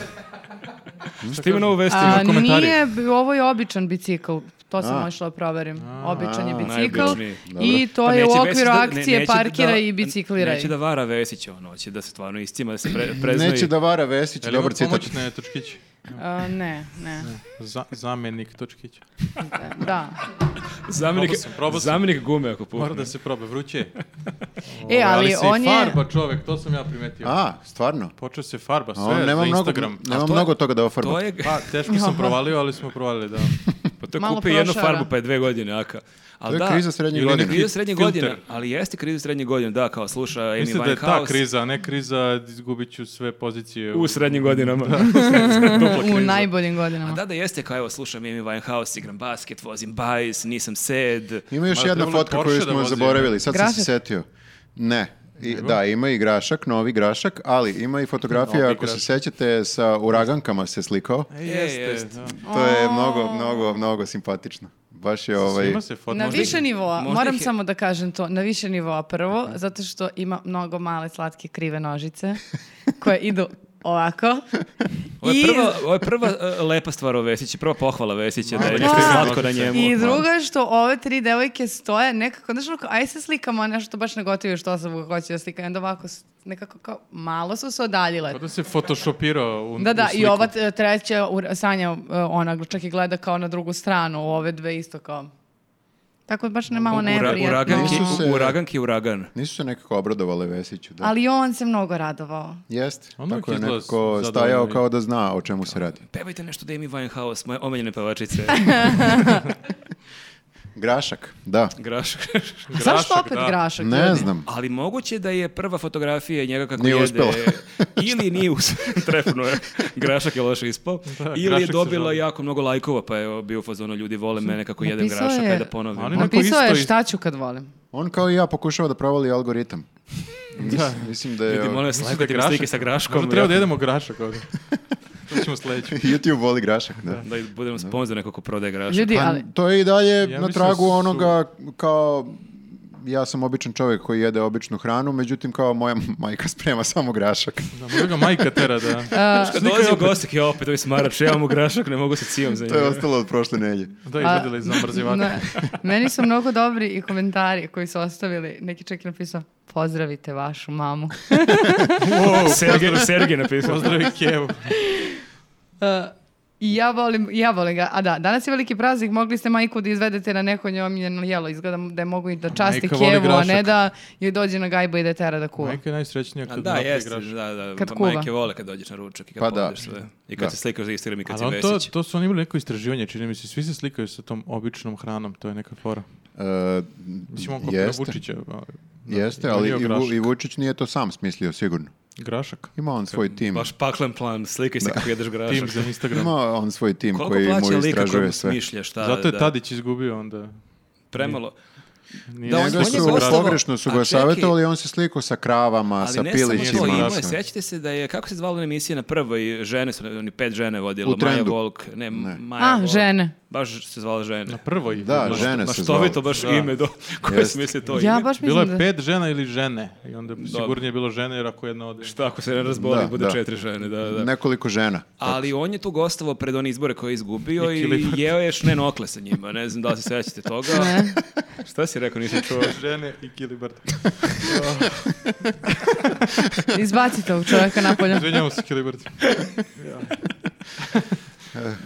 Šta ima novu vesti?
A,
komentari.
nije, bi- ovo je običan bicikl. To sam
A.
išla da proverim. Običan je bicikl.
najobičniji.
I to
Pa
je u
neće Vesić
okviru
da- ne-
akcije
neće da-
parkiraj i bicikliraj.
Neće da vara Vesić ono, hoće da se stvarno istima, da se pre, preznoji.
Neće da vara Vesić,
Je li ima
dobar citat.
pomoćne točkiće?
A, ne, ne.
Za, zamenik točkića.
Da.
Zamjenik,
Probao sam, probao sam.
zamjenik gume ako
Mora
pukne.
da se proba, vruće. je.
E, ali,
se i
on je...
farba čovek, to sam ja primetio.
A, stvarno?
Počeo se farba,
A on
sve
nema
za
mnogo,
Instagram.
nema
A to je-
mnogo toga da ofarba.
To je,
Pa, teško sam provalio, ali smo provalili, da.
pa to
Malo
kupi jednu
prošara.
farbu pa je dve godine aka.
To
Ali
je
da,
kriza srednjih
Ili neki-
godina.
kriza srednjih
Filter.
godina, ali jeste kriza srednjih godina, da, kao sluša Amy
Mislim
Winehouse.
da je ta kriza, a ne kriza, izgubit ću sve pozicije.
U srednjim godinama. (laughs) Dupla
U
kriza.
najboljim
A
godinama.
da, da jeste, kao evo, slušam Amy Winehouse, igram basket, vozim bajs, nisam sed.
Ima još
Ma,
jedna
trebalo je
fotka
Porsche
koju
da
smo
vozi,
zaboravili, sad sam se
Grašak?
setio. Ne, I, da, ima i grašak, novi grašak, ali ima i fotografija,
Novi
ako se
grašak.
sećate, sa uragankama se slikao.
E, jeste,
E, jeste.
da.
To je mnogo, mnogo, mnogo simpatično. Baš je ovaj...
Svima se fot,
Na
možda
više
i-
nivoa,
možda
moram
ih je-
samo da kažem to, na više nivoa prvo, zato što ima mnogo male slatke krive nožice koje idu ovako.
Ovo je
I-
prva, ovo je prva e, lepa stvar o Vesići, prva pohvala Vesića da je
Malo
nešto
je
slatko na
slatko.
njemu.
I drugo je što ove tri devojke stoje nekako, znaš, onako, aj se slikamo, a nešto baš ne gotivi što sam hoće da slikam, onda ovako s- nekako kao malo su se odaljile.
Kao da se photoshopirao u,
Da,
u
da, i
sliku.
ova t- treća, u- Sanja, e, ona čak i gleda kao na drugu stranu, ove dve isto kao. Tako da baš ne malo neprijatno.
Uraganki,
Nisu se-
uraganki, uragan.
Nisu se nekako obradovale Vesiću, da.
Ali on se mnogo radovao.
Jeste,
On
tako je
uvijek izgleda
nekako
zadovoljan
stajao
i-
kao da zna o čemu se radi.
Pevajte nešto da Amy Winehouse, moje
(laughs)
omenjene pevačice.
Grašak, da.
Graš.
A zašto
Grašak,
opet
da.
grašak?
Ne
ljudi?
znam.
Ali moguće da je prva fotografija njega kako
Nije
jede.
uspela.
(laughs) ili nije (laughs) uspela. Trefno je. Grašak je loše ispao.
Da,
ili je
Grašak se
dobila
žali.
jako mnogo lajkova, pa je bio u fazonu ljudi vole mene kako jedem
Napisao
grašak,
je-
ajde da ponovim.
Ali Onako
Napisao je
isto i-
šta ću kad volim.
On kao i ja pokušava da provali algoritam. da. Mislim da je...
Ljudi, molim vas,
Ajde,
slikajte mi
grašak.
slike sa graškom.
Možda treba da
ja-
jedemo grašak ovdje. To ćemo sledeće.
(laughs) YouTube voli grašak, da.
da budemo sponsor neko ko prodaje grašak.
Ljudi,
Pa,
ali...
to je i dalje
Ja
na
mislim da
tragu
su-
onoga kao ja sam običan čovjek koji jede običnu hranu, međutim kao moja (laughs) majka sprema samo grašak.
Da, možda ga majka tera
(laughs)
da...
Kad dolazi u gostak, ja opet ovi smarač, ja imam grašak, ne mogu se cijom za
To je
njega.
ostalo od prošle nelje.
Da,
a,
izgledala iz zamrzivača.
ne, meni su mnogo dobri i komentari koji su ostavili. Neki čak je napisao, pozdravite vašu
(laughs)
mamu.
Sergej, Sergej napisao.
Pozdravi Kevu.
(laughs) Uh, I ja volim, ja volim ga. A da, danas je veliki praznik, mogli ste majku da izvedete na neko njoj omiljeno jelo. Izgleda da je mogu i da časti
Majka voli
Kevu, a ne
grašak.
da joj dođe na gajbu i da je tera da kuva.
Majka je najsrećnija
A
kad
Da,
napravi
jeste,
grašak.
da, da.
Kad
pa
kuva.
Majke vole kad dođeš na ručak i kad
Pa
pa
da.
sve. I kad
Da.
se slikaš za Instagram i kad
Ali
si
on to,
Vesić.
to su oni imali neko istraživanje, čini mi se, svi se slikaju sa tom običnom hranom, to je neka fora.
E,
Mislim, on kopira
jeste,
Vučića, ali... da,
jeste,
i
ali i,
nije
Vu-
grašak.
i Vučić nije to sam smislio sigurno.
Grašak.
Ima on svoj tim.
Baš paklen plan, slikaj se kako jedeš
Tim
grašak.
za Instagram.
Ima on svoj tim
Koliko
koji
plaća
mu
lika koji
istražuje
mu
sve.
smišlja šta?
Zato je
da,
Tadić izgubio onda.
Premalo.
Nije
Da, on-
slikao
Njega
on
sa
su
je
grašakom.
gostao-
pogrešno su
A
ga
čekaj.
savjetovali, on se slikao sa kravama,
Ali
sa
ne samo to,
pilićima.
pilićima.
imao je, sećate se da je, kako se zvala ona emisija na prvoj, žene su, oni pet žene vodilo,
U
Maja
trendu.
Volk, ne, Maja
A,
Volk.
žene.
Baš se zvala žene.
Na prvoj.
Da, žene
baš
se
to
zvale.
to baš
Da.
ime do (laughs) koje
Jeste.
smisli to
Ja
ime.
baš
Bilo
mislim
je
da...
pet žena ili žene. I onda bi sigurnije bilo žene, jer ako jedna ode...
Šta Pa ako se ne razboli,
Da,
bude
da.
četiri žene, da, da.
Nekoliko žena.
Ali on je tu gostovao pred one izbore koje je izgubio
I
i
kilipat.
jeo je šnen okle sa njima. Ne znam da li se sećate toga.
Ne.
(laughs) Šta si rekao, nisam čuo.
Žene i Kilibert.
Izbacite ovog čovjeka
(laughs)
napolje.
(laughs) Izvinjavam se Kilibert.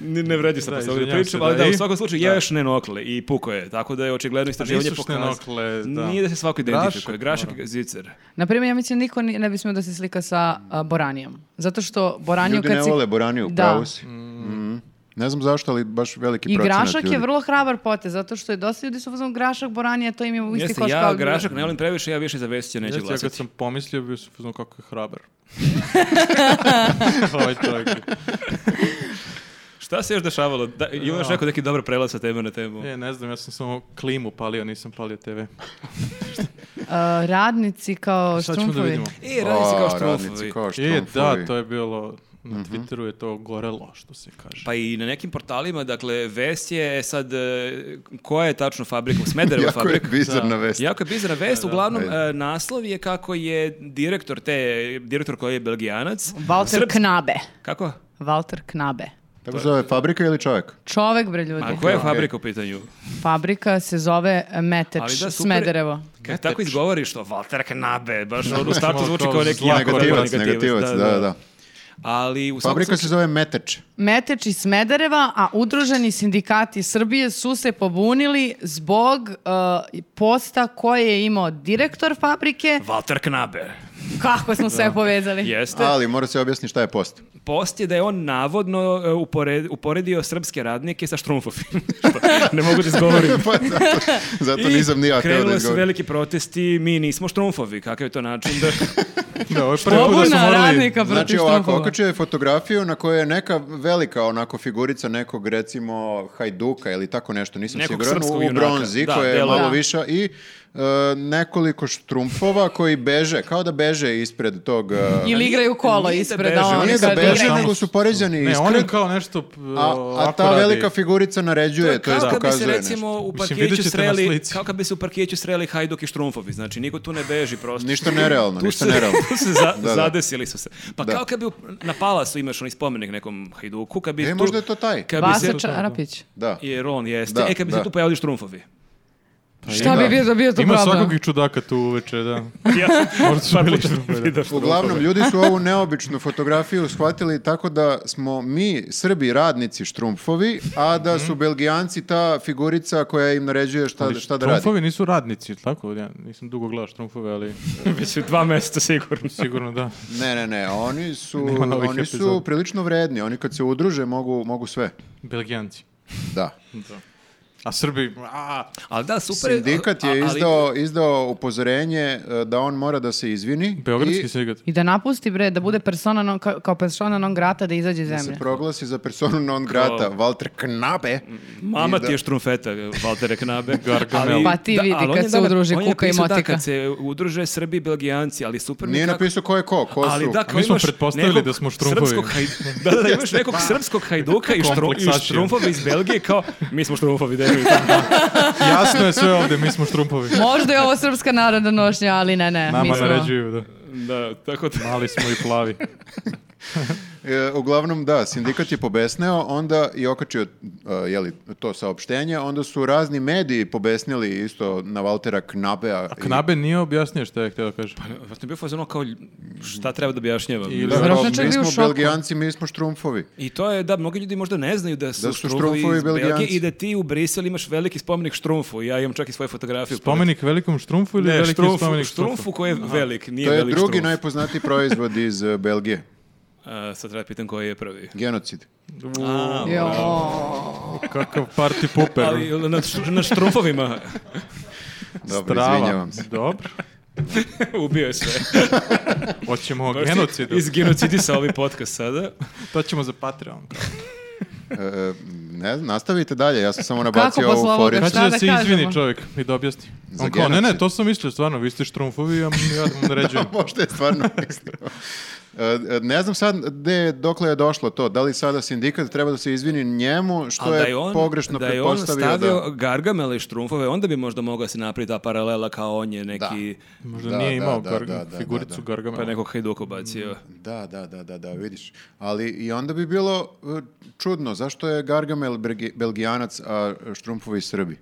Ni- Ne vredi sam
Da,
da, posle
izvinjavam
pričam,
se,
ali
da,
da, u
i-
svakom slučaju jeo je šnen okle i puko je. Tako da je očigledno istraživanje
nisu
pokazalo.
šnenokle, da.
Nije da se svako identifikuje.
Grašak,
Grašak,
moram.
zicer.
Naprimjer, ja mislim niko ni- ne bi smio da se slika sa a, Boranijom. Zato što Boraniju
Ljudi
kad
ne
si...
vole boraniju,
Da.
pravo si.
Mm.
Mhm. Ne znam zašto, ali baš veliki
I
procenat
Grašak
ljudi.
je vrlo hrabar potez, zato što je dosta ljudi su uzmano Grašak, Boranija, to im je u isti
Jeste,
koš
ja
kao-
grašak ne volim previše, ja više za Vesića neću
Jeste, ja kad
glasati.
Znači, sam pomislio, bio sam uznao kako je
(laughs)
hrabar. Ovaj čovjek.
Šta se još dešavalo? Da, ima još
Da.
rekao neki dobar prelaz sa teme na temu.
E, ne znam, ja sam samo klimu palio, nisam palio TV.
A, radnici kao
Sad ćemo da
štrumfovi.
vidimo.
E, radi se kao
A, radnici
štrofovi.
kao
Je,
štrumfovi. Mhm.
da, E, to je bilo Na Twitteru je to gorelo, što se kaže.
Pa i na nekim portalima, dakle, vest je sad, e, koja je tačno fabrika, u Smederevu
(laughs) Jako je
fabrika.
bizarna vest.
Jako je bizarna vest, uglavnom e, naslov je kako je direktor te, direktor koji je belgijanac.
Walter
Srps-
Knabe.
Kako?
Walter Knabe.
Tako se zove fabrika ili čovjek?
Čovek, bre, ljudi.
A koja je fabrika u pitanju?
Fabrika se zove e, Meteč,
super je-
Smederevo.
Kad tako izgovoriš to, Walter Knabe, baš on u startu
Malo
zvuči
kao
kao neki
zlo.
jako
Negativac,
dobar
negativac, da, da. da.
Ali u svakom
Fabrika
slučaju-
se zove Meteč.
Meteč iz Smedereva, a udruženi sindikati Srbije su se pobunili zbog e, posta koje je imao direktor fabrike.
Walter Knabe.
Kako
(laughs)
smo sve povezali.
Jeste.
Ali mora se objasniti šta je post.
Post je da je on navodno e, upore- uporedio srpske radnike sa štrumfofima. (laughs) Što ne mogu da izgovorim.
pa zato, zato
I
nisam ni ja teo da
krenuli su
izgovorim.
veliki protesti, mi nismo štrumfovi, kakav je to način
(laughs)
da...
Pa
(laughs) Da, ovo je prvi put da smo
Pobuna
morali...
radnika protiv
Znači ovako,
štrumfova.
okačio je fotografiju na kojoj je neka velika onako figurica nekog recimo hajduka ili tako nešto, nisam
Nekog
siguran,
srpskog
u
junaka.
bronzi
Da,
koja je
delo-
malo
Da.
viša i e, nekoliko štrumpova koji beže, kao da beže ispred tog... e,
Ili igraju kolo
Nije da
ispred,
beže,
a oni
nije da
kad
beže,
igraju.
nego su poređani
Ne,
ispred,
on je kao nešto p-
a, a
ovako
ta
radi.
velika figurica naređuje, E, to
Kao
jest
kad bi se
pokazuje
recimo
nešto.
u
Mislim,
parkiću
vidjet ćete na
sreli,
slici.
kao kad bi se u parkiću sreli Hajduk i štrumfovi, znači niko tu ne beži prosto.
Ništa nerealno,
Tu
ništa
se-
nerealno.
(laughs) tu se za-
Da, da.
zadesili su se. Pa
Da.
kao kad bi u- na palasu imaš onaj spomenik nekom Hajduku, kad bi
E,
tu-
možda je to taj.
Kad bi se,
Vasa Čarapić.
Da.
jer on jeste,
Da,
e kad bi
da.
se tu pojavili
(laughs)
štrumfovi.
Šta bi bio da bio to
Ima
problem?
svakog i čudaka tu uveče, da.
Ja,
Možda su
par
bili
puta
štrumfovi, da.
vidio štrumfove.
Uglavnom, ljudi
(laughs)
su ovu neobičnu fotografiju shvatili tako da smo mi, Srbi, radnici štrumfovi, a da su Belgijanci ta figurica koja im naređuje šta,
Mhm. Ali
šta da radi.
Štrumfovi nisu radnici, jel tako? Ja nisam dugo gledao štrumfove, ali
Već dva mjeseca sigurno.
sigurno da. (laughs)
Ne, ne, ne, oni su,
Nema novih
oni su
epizoda.
prilično vredni, oni kad se udruže mogu, mogu sve.
Belgijanci.
Da.
A Srbi, a,
Ali da, super. je-
Sindikat
a-
je
ali-
izdao, izdao upozorenje e, da on mora da se izvini
beogradski
i
sindikat.
I da napusti bre, da bude persona non, ka- kao persona non grata da izađe iz
da se
zemlje.
proglasi za personu non grata,
Kao-
Walter Knabe.
Mama
I da-
ti je štrumfeta, Valtere (laughs) Knabe.
Gargamel.
Ali-
Pa ti vidi
ali on
kad
je
se
dobar-
udruži
on je
kuka i
napisao, Da,
motika.
kad se udruže Srbi i Belgijanci, ali super mi je
Nije
kako-
napisao ko je ko, ko
Ali
su.
da, ako
Mi smo
imaš
pretpostavili
nekog
da smo štrumfovi.
srpskog
(laughs)
haj- Da, da, da, imaš nekog srpskog hajduka i, štru, i
Kompleksacija.
štrumfovi iz Belgije kao mi smo štrumfovi, definitivno.
Jasno je sve ovde, mi smo štrumpovi.
Možda je ovo srpska narodna nošnja, ali ne, ne. mi
Nama
smo-
naređuju, da.
(laughs) Da, tako da.
Mali smo i
(laughs)
plavi.
E, uglavnom da, sindikat je pobesneo, onda i okačio e, je li, to saopštenje, onda su razni mediji pobesnili isto na Valtera Knabea. i-
Knabe nije objasnio šta je htio da kaže.
Pa,
Vatno je bio fazon ono kao šta treba da objašnjavam.
Ili-
Da,
Verovatno
kao,
čak
mi
bio u
smo
šoku.
Belgijanci, mi smo štrumfovi.
I to je, da, mnogi ljudi možda ne znaju da su,
Da su
štrumfovi,
štrumfovi
iz Belgije
Belgijanci.
i da ti u Briselu imaš veliki spomenik štrumfu. Ja imam čak i svoju fotografiju.
Spomenik velikom štrumfu ili
Ne,
veliki
štrumfu,
spomenik
štrumfu
štrumfu?
koji je velik, nije
To je
velik
drugi
štrumf.
najpoznatiji proizvod iz e, Belgije.
A, sad treba pitam koji je prvi.
Genocid.
A,
Jo.
Kakav party puper.
ali na, štru- na štrumfovima
Dobro,
Strava.
izvinjavam se.
Dobro.
(laughs) ubio je
(laughs)
sve.
Hoćemo o genocidu.
Iz genocidisa ovaj podcast sada.
To ćemo za Patreon.
E, e, ne znam, nastavite dalje, ja sam samo
Kako
nabacio
posle
ovu
ovoga?
foricu.
Kad će
Šta
da,
da
se
kažemo?
izvini čovjek i da objasni?
Za
On kao, ne, ne,
genocid.
to sam mislio stvarno, vi ste štrumfovi, ja, ja vam naređujem.
(laughs) Možda je stvarno mislio. E, e, Ne znam sad gde, dokle je došlo to. Da li sada sindikat treba da se izvini njemu što
Ali
je,
da je on,
pogrešno
da je on
pretpostavio
stavio
da...
gargamele i štrumfove, onda bi možda mogao se napraviti ta paralela kao on je neki,
Možda
Da,
nije
da,
imao
da,
gar-
da, da,
figuricu
da, da.
Gargamela.
pa nekog hajduka bacio.
Da, da, da, da, da, vidiš. Ali i onda bi bilo e, čudno, zašto je Gargamel Bergi- Belgijanac, a Štrumfovi Srbi?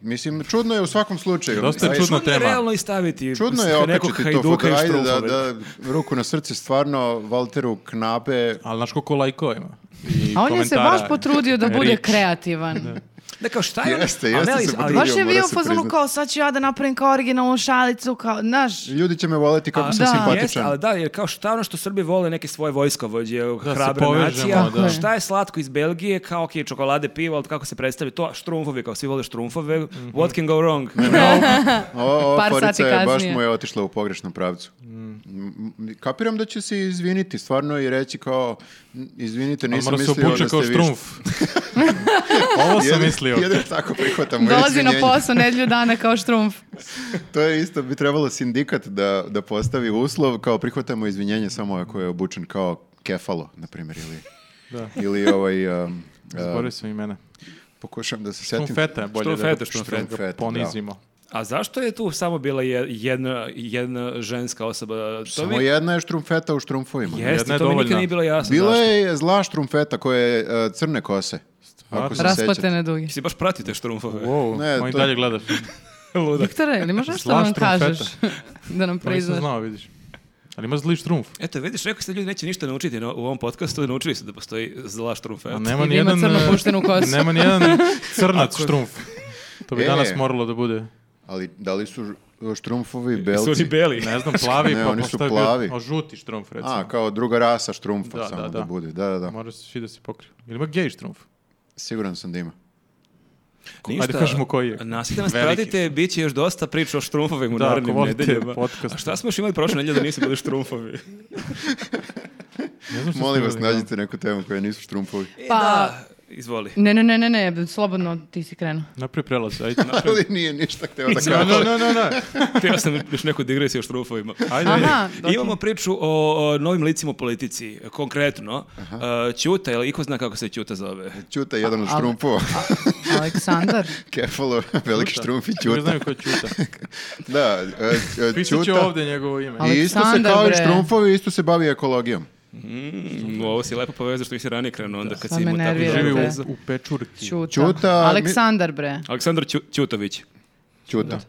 Mislim, čudno je u svakom slučaju.
Dosta je
Aj,
čudno. Čudna tema.
realno i staviti
Čudno je
nekog
okačiti to foto,
hajduka i
ajde da,
štrumfove.
da, ruku na srce, stvarno, Valteru Knape,
Ali znaš koliko lajkova ima? I
A on je se baš
komentara.
potrudio da bude
Reč.
kreativan.
Da kao šta je ono-
Jeste,
a
jeste
ne,
se
ali-
potrudio.
Baš je
mora
bio u
se
fazonu
priznat.
kao sad ću ja da napravim kao originalnu šalicu, kao, znaš,
ljudi će me voleti kako sam
da.
simpatičan.
Jeste, ali da, jer kao šta ono što Srbi vole neke svoje vojskovođe,
se
hrabra
povežemo,
nacija,
da.
šta je slatko iz Belgije, kao ok, čokolade, pivo, ali kako se predstavi to, štrumfovi, kao svi vole štrumfove,
Mhm.
what can go wrong?
O, ova
Par
forica
sati
je, baš
kasnije.
mu je otišla u pogrešnom pravcu. M- m- Kapiram da će se izviniti, stvarno i reći kao, "N- izvinite,
Ali
nisam
mora se
mislio da
obuče
ste
kao
vi (laughs)
štrumf. Ovo sam mislio.
Jedino tako prihvatamo
dolazi na
izvinjenje.
posao nedlju dana kao štrumf.
To je isto, bi trebalo sindikat da, da postavi uslov, kao prihvatamo izvinjenje samo ako je obučen kao Kefalo, na primjer, ili,
Da.
ili ovaj... um,
Zaboravio sam imena.
Pokušam da se setim.
Štrumfeta je bolje
Štrumfeta,
da
štrumfeta.
da ga
Štrumfeta, da.
ponizimo.
A zašto je tu samo bila je- jedna, jedna ženska osoba? To
Samo
mi-
jedna je štrumfeta u štrumfovima.
Jeste,
Jedna je
to mi nikad
dovoljna.
nije bilo jasno.
Bila
zašto.
je zla štrumfeta koja je uh, crne kose. Ako se sjećate.
Rasplatene duge.
Jesi baš pratite štrumfove?
Wow,
Ne,
on i
to-
dalje (laughs) gleda.
Ludak.
Viktore, ili možeš što
Zla
nam
štrumfeta.
kažeš? da nam
Pa nisam
priznaš.
znao, vidiš. Ali ima zli štrumf.
Eto, vidiš, rekao ste ljudi neće ništa naučiti no, u ovom podcastu, naučili ste da postoji zla štrumfeta.
A nema
I da
ni
ima
jedan eh,
crno puštenu kosu.
(laughs) Nema ni
(laughs)
jedan crnac štrumf. To bi
E.
danas moralo da bude.
Ali da li su ž- štrumfovi
Su
belci?
oni beli.
Ne znam, plavi,
(laughs) Ne,
pa
oni su
postoje
plavi.
Bio, a žuti štrumf, recimo.
A, kao druga rasa štrumfa
Da,
samo da,
da, da.
bude. Da, da, da.
Mora se svi da se pokriju. Ili ima gej štrumf?
Siguran sam da ima.
Ajde kažemo koji je.
Nastavite nas
Veliki.
pratite, bit će još dosta priča o štrumfovima u
Da, ako
narednim
volite
nedeljama.
podcast.
A šta smo još imali prošle nedelje da nisu bili štrumfovi?
Ne znam što
Molim
ste
vas,
imali,
nađite neku temu koja nisu štrumfovi.
(laughs)
E,
Pa-
da,
(laughs)
izvoli.
Ne, ne, ne, ne, ne, slobodno ti si krenuo.
da. Napravi prelaz,
(laughs)
ajde. napravi.
Ali nije ništa htio da
No,
kažem.
no, no, no, no.
Htio sam još neku digresiju o
(laughs)
štrumfovima.
Ajde, ajde.
Aha, dok-
Imamo priču o, o novim licima u politici, konkretno. Uh, Ćuta, ili iko zna kako se Ćuta zove?
Ćuta je jedan od
ali-
štrumfova. (laughs)
Aleksandar.
Kefalo, veliki štrumf i
Ne
Ćuta.
znaju ko je
(laughs)
Ćuta.
Da, e, e,
Pisat će
Ćuta.
ovdje njegovo ime.
Ali-
I isto se
Aleksandar,
kao i
bre.
štrumfovi, isto se bavi ekologijom.
Mm, ovo si lepo povezao što nisi ranije krenuo onda kad
Sad
si
me
imao takvu
nervirate.
Živi
dobru
u,
vezu.
u Pečurki.
(laughs) Ćuta.
Ćuta, mi-
Aleksandar, bre.
Aleksandar Ću- Ćutović.
Ćuta.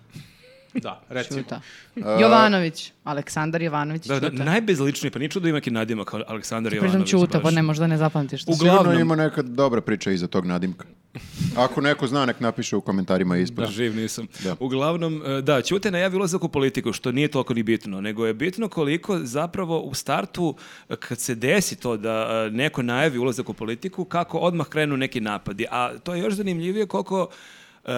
Da, recimo.
Ćuta. Jovanović. Aleksandar Jovanović
Da, da,
Ćuta.
najbezličniji, pa nije čudo da ima neki nadimak kao Aleksandar
Pritom
Jovanović.
Ćuta,
baš.
pa ne, možda ne zapamtiš to.
Sigurno
Uglavnom,
ima neka dobra priča iza tog nadimka. Ako neko zna, nek napiše u komentarima ispod.
Živ nisam.
Da.
Uglavnom, e, da, Ćute je najavio ulazak u politiku, što nije toliko ni bitno, nego je bitno koliko zapravo u startu, e, kad se desi to da e, neko najavi ulazak u politiku, kako odmah krenu neki napadi. A to je još zanimljivije koliko e,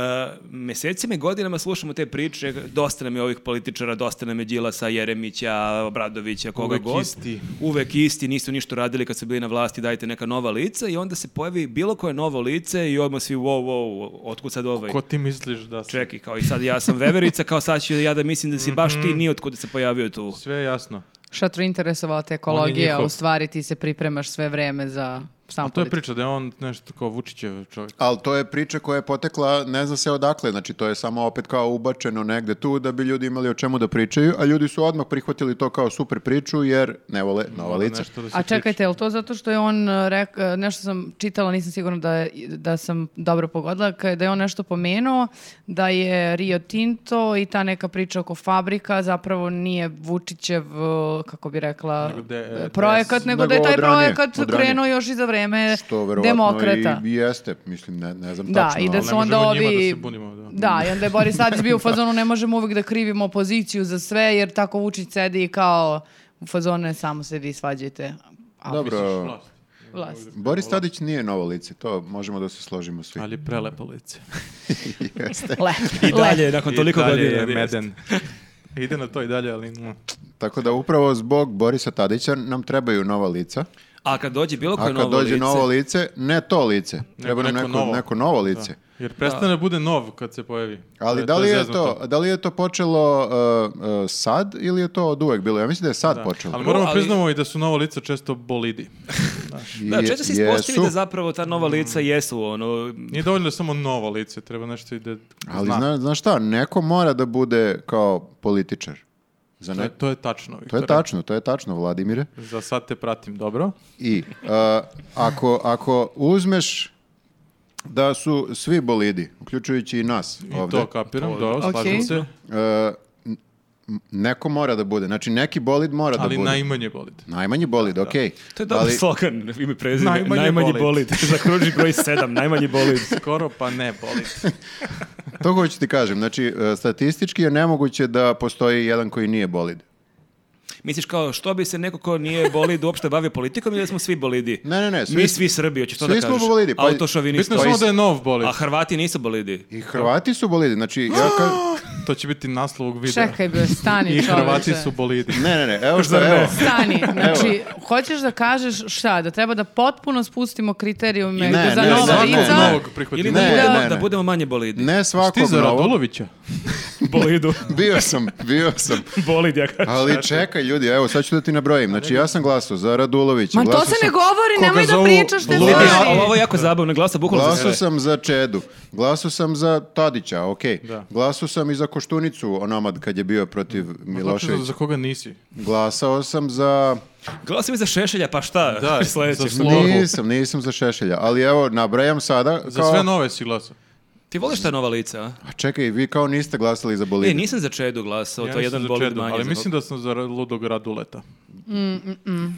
mesecima i godinama slušamo te priče, dosta nam je ovih političara, dosta nam je Đilasa, Jeremića, Obradovića, koga
Uvek
god.
isti.
Uvek isti, nisu ništa radili kad su bili na vlasti, dajte neka nova lica i onda se pojavi bilo koje novo lice i odmah svi wow, wow, otkud sad ovaj?
Ko ti misliš da si?
Čekaj, kao i sad ja sam veverica, kao sad ću ja da mislim da si baš
Mhm.
ti ni od kuda se pojavio tu.
Sve je jasno.
Šta te interesovao te
On je
ekologija,
njihov.
u stvari ti se pripremaš sve vreme za sam
A to je priča da je on nešto kao Vučićev čovjek.
Ali to je priča koja je potekla, ne zna se odakle, znači to je samo opet kao ubačeno negde tu da bi ljudi imali o čemu da pričaju, a ljudi su odmah prihvatili to kao super priču jer ne vole nova lica.
Nešto da se
A čekajte, je li to zato što je on rekao, nešto sam čitala, nisam sigurna da, je- da sam dobro pogodila, ka- da je on nešto pomenuo, da je Rio Tinto i ta neka priča oko fabrika zapravo nije Vučićev, eh, kako bi rekla,
Nego de- eh,
projekat,
des-
nego
nego
da je taj
od ranije,
projekat
od ranije.
krenuo još i za vreme
Što verovatno
E, demokrata.
i, i jeste, mislim, ne, ne znam
Da,
tačno.
i da
ali-
su
ne
onda
možemo njima da
ovi...
se bunimo, da.
i onda je Boris Tadić bio u fazonu ne možemo uvijek da krivimo opoziciju za sve, jer tako Vučić sedi i kao u fazone samo se vi svađajte. A,
Dobro,
Vlast.
vlast.
Boris Tadić nije novo lice, to možemo da se složimo svi.
Ali prelepo
(laughs)
lice.
Le,
I dalje, nakon
I
toliko
dalje
godina.
je meden. (laughs) Ide na to i dalje, ali... mm.
Tako da upravo zbog Borisa Tadića nam trebaju nova lica.
A kad dođe bilo koje
A
novo
kad dođe
lice,
novo lice, ne to lice, treba nam
neko
neko,
novo.
neko novo lice.
Jer prestane da bude nov kad se pojavi.
Ali
E,
da li, je
zeznuto.
to, da li je to počelo uh, uh, sad ili je to od uvek bilo? Ja mislim da je sad
Da.
počelo.
Ali moramo
Ali-
priznamo i da su novo lica često bolidi.
Da, često se
Je-
ispostavi
jesu. Mhm.
da zapravo ta nova lica jesu ono...
Nije dovoljno samo novo lice, treba nešto i da
Ali
zna.
zna, znaš šta, neko mora da bude kao političar. Za
To
ne...
je, to je tačno,
To je
Viktore.
tačno, to je tačno, Vladimire.
Za sad te pratim, dobro?
I uh, ako, ako uzmeš da su svi bolidi, uključujući i nas
I
ovde,
to kapiram, dobro,
Ok.
slažem se.
uh, n- neko mora da bude. Znači, neki bolid mora da
Ali
bude.
najmanje bolid.
Najmanji bolid, okej.
To je dobar
Ali-
slogan, ime i prezime,
Najmanji
najmanji,
bolid.
bolid.
(laughs)
Zakruži broj 7, najmanji bolid.
Skoro pa ne bolid.
To hoću ti kažem, znači e, statistički je nemoguće da postoji jedan koji nije bolid.
Misliš kao, što bi se neko ko nije bolid uopšte bavio politikom ili da smo svi bolidi?
Ne, ne, ne, svi-
Mi svi Srbi, hoćeš to da
svi
kažeš?
smo bolidi, pa-
Bitno
Autošovinisti.
je samo da je nov bolid.
A Hrvati nisu bolidi.
I Hrvati su bolidi, znači ja ka...
(gasps) To će biti naslov ovog videa.
Čekaj bre, stani
(laughs) I
čoveče.
Hrvati su bolidi.
Ne, ne, ne, evo što, evo.
Stani, znači, hoćeš da kažeš šta, da treba da potpuno spustimo kriterijume
Ne,
za
ne,
nova
ne,
Svakog
lica?
ne.
novog
Ili
prihvatimo.
da,
Ne,
budemo,
ne,
da
ne.
budemo manje bolidi.
Ne
Ti
svakog
za
novog,
Radulovića?
(laughs)
bolidu.
bio sam, bio sam.
Bolid, ja kažem.
Ali čekaj ljudi, evo sad ću da ti nabrojim. Znači ja sam glasao za Radulovića.
Ma to
glasao
se
sam-
ne govori,
koga
nemoj da
zovu
pričaš ne
Ludi,
govori.
Ovo, ovo je jako zabavno, glasa bukvalno za sve.
E.
Glasao sam za Čedu, glasao sam za Tadića, ok.
Da.
Glasao sam i za Koštunicu, onomad kad je bio protiv
Zato za,
Miloševića.
za koga nisi?
Glasao sam za...
Glasam i za Šešelja, pa šta? (laughs)
Da,
Sledeće
za
što-
Slogu.
Nisam, nisam za Šešelja. Ali evo, nabrajam sada
Za
kao...
sve nove si glasao.
Ti voliš ta nova lica, a?
A čekaj, vi kao niste glasali za
E,
Boliviju.
nisam za Čedu glasao,
Ja
to je
nisam
jedan
za
bolid
Čedu,
manje.
Ali
za
mislim
koga.
da sam za ludog raduleta.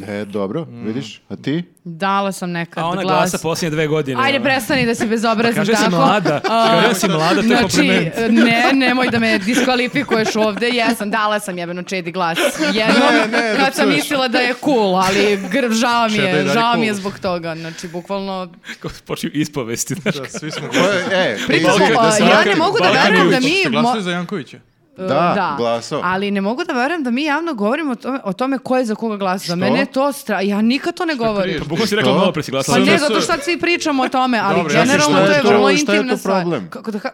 E, dobro, vidiš. A ti?
Dala sam nekad
A ona
glas.
glasa posljednje dve godine. ono.
Ajde, prestani da si bezobrazni
Kaže da si
tako.
mlada.
A,
Kaže da si mlada, to je
Znači,
kompliment.
(laughs) ne, nemoj da me diskvalifikuješ ovde, jesam, dala sam jebeno Čedi glas jednom,
Ne, ne, da
kad sam
psuješ.
mislila da je cool, ali grb, žao mi
Čeda je
je,
dalje
žao mi
cool.
je zbog toga, znači, bukvalno,
(laughs) Počinju ispovesti, znaš.
Da, svi smo
Ko je- (laughs) E,
Pritom,
izvini,
a,
se
ja
vrati.
ne mogu da
Balkan
verujem da
Janković,
Ste
mi... mo-
glasali za Jankovića?
e,
Da, glasao.
Ali ne mogu da verujem da mi javno govorimo o tome, o tome ko je za koga glasao. Za mene je to stra... Ja nikad to ne govorim.
kriješ?
Bukvalno si rekao
Što?
malo pre si
Pa
glasala. Znači-
Sada
ne,
su-
zato što sad svi pričamo o tome, ali
Dobro, ja sam-
generalno
šta
to
je
je
to-
vrlo
šta je to
intimna stvar.
problem?
Kako da ka-